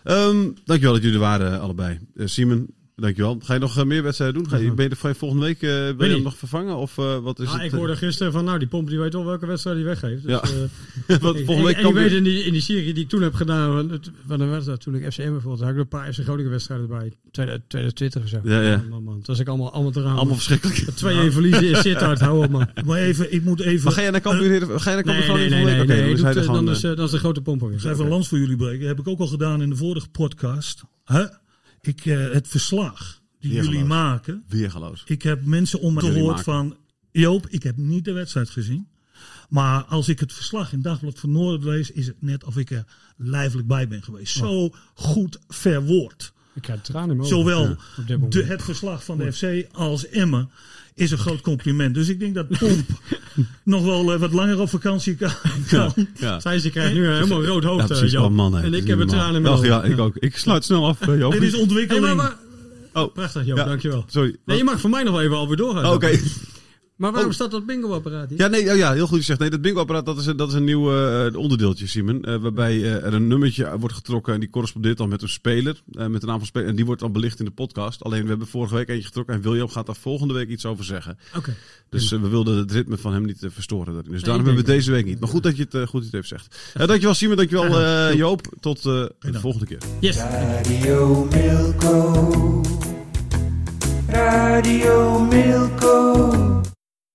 Speaker 2: Ehm, dankjewel dat jullie er waren, allebei. Eh, Simon, dankjewel. Ga je nog eh, meer wedstrijden doen? Ga je, ben je er voor- volgende week eh ben je hem
Speaker 1: niet.
Speaker 2: nog vervangen? Of eh, wat is
Speaker 1: Ah,
Speaker 2: het?
Speaker 1: ik
Speaker 2: eh,
Speaker 1: hoorde gisteren van, nou, die pomp die weet al welke wedstrijd hij weggeeft. Dus,
Speaker 2: Ja.
Speaker 1: eh,
Speaker 2: wat
Speaker 1: ik-
Speaker 2: volgende week
Speaker 1: en, en je
Speaker 2: Cambuur-
Speaker 1: weet in die, in die serie die ik toen heb gedaan, want het, want dan was dat toen ik FCM bijvoorbeeld, daar had ik een paar FC Groningen wedstrijden bij, 2020 of zo.
Speaker 2: Ja, ja.
Speaker 1: Man, man, dat was ik allemaal, allemaal te raam.
Speaker 2: Allemaal verschrikkelijk.
Speaker 1: 2-1 verliezen in Sittard, hou op man.
Speaker 3: Maar even, ik moet even,
Speaker 2: Maar ga jij naar Cambuur? Heer- Ga je naar Cambuur
Speaker 1: Nee,
Speaker 2: gewoon
Speaker 1: nee,
Speaker 2: weer
Speaker 1: nee, nee,
Speaker 2: volgende week? Oké,
Speaker 1: nee,
Speaker 2: dan
Speaker 1: doet,
Speaker 2: zijn er
Speaker 1: eh,
Speaker 2: gewoon...
Speaker 1: dan,
Speaker 2: eh,
Speaker 1: is, eh, dan is de grote pomp weer.
Speaker 3: even een lans voor jullie breken. Heb ik ook al gedaan in de vorige podcast. Hè? Ik, eh, het verslag die
Speaker 2: Weergeloos.
Speaker 3: jullie maken.
Speaker 2: Weergeloos.
Speaker 3: Ik heb mensen om me
Speaker 2: Jullie
Speaker 3: gehoord
Speaker 2: maken.
Speaker 3: van... Joop, ik heb niet de wedstrijd gezien. Maar als ik het verslag in Dagblad van Noorden lees... is het net of ik er lijfelijk bij ben geweest. Zo goed verwoord.
Speaker 1: Ik krijg tranen in mijn ogen.
Speaker 3: Zowel
Speaker 1: Oh, Ja, op dit moment.
Speaker 3: de, het verslag van de FC als Emmen is een groot compliment. Dus ik denk dat Pomp nog wel eh, wat langer op vakantie kan. kan.
Speaker 2: Ja.
Speaker 1: Zij ze krijgt nu helemaal rood hoofd,
Speaker 2: Ja,
Speaker 1: eh,
Speaker 2: precies.
Speaker 1: Joop.
Speaker 2: Oh, man, hè.
Speaker 1: En
Speaker 2: Dat
Speaker 1: ik
Speaker 2: is
Speaker 1: heb
Speaker 2: niet
Speaker 1: het
Speaker 2: normaal.
Speaker 1: tranen in mijn
Speaker 2: Ach,
Speaker 1: ogen.
Speaker 2: ja, ik ook. Ik sluit snel af, eh, Joop.
Speaker 3: Dit is
Speaker 1: Hey,
Speaker 3: ontwikkeling.
Speaker 1: maar, maar-
Speaker 2: Oh,
Speaker 1: prachtig Joop,
Speaker 2: Ja.
Speaker 1: dankjewel.
Speaker 2: sorry.
Speaker 1: Nee, je mag voor mij nog wel even alweer doorgaan.
Speaker 2: Oh, Oké.
Speaker 1: Maar waarom
Speaker 2: Oh.
Speaker 1: staat dat bingo-apparaat hier?
Speaker 2: Ja, nee, oh ja, heel goed gezegd. Nee, dat bingo-apparaat dat is, een- dat is een nieuw eh, onderdeeltje, Simon. Eh, waarbij eh, er een nummertje wordt getrokken en die correspondeert dan met een speler. eh, met een naam van speler. En die wordt dan belicht in de podcast. Alleen we hebben vorige week eentje getrokken en William gaat daar volgende week iets over zeggen.
Speaker 1: Oké.
Speaker 2: Dus eh, we wilden het ritme van hem niet eh, verstoren daarin. Dus
Speaker 1: ik
Speaker 2: daarom hebben we
Speaker 1: denk
Speaker 2: deze week niet. Maar goed dat je het, eh, goed dat je het even zegt. Eh, dankjewel Simon, dankjewel eh Joop. Tot eh, de volgende keer.
Speaker 1: Yes.
Speaker 4: Radio Milko. Radio Milko.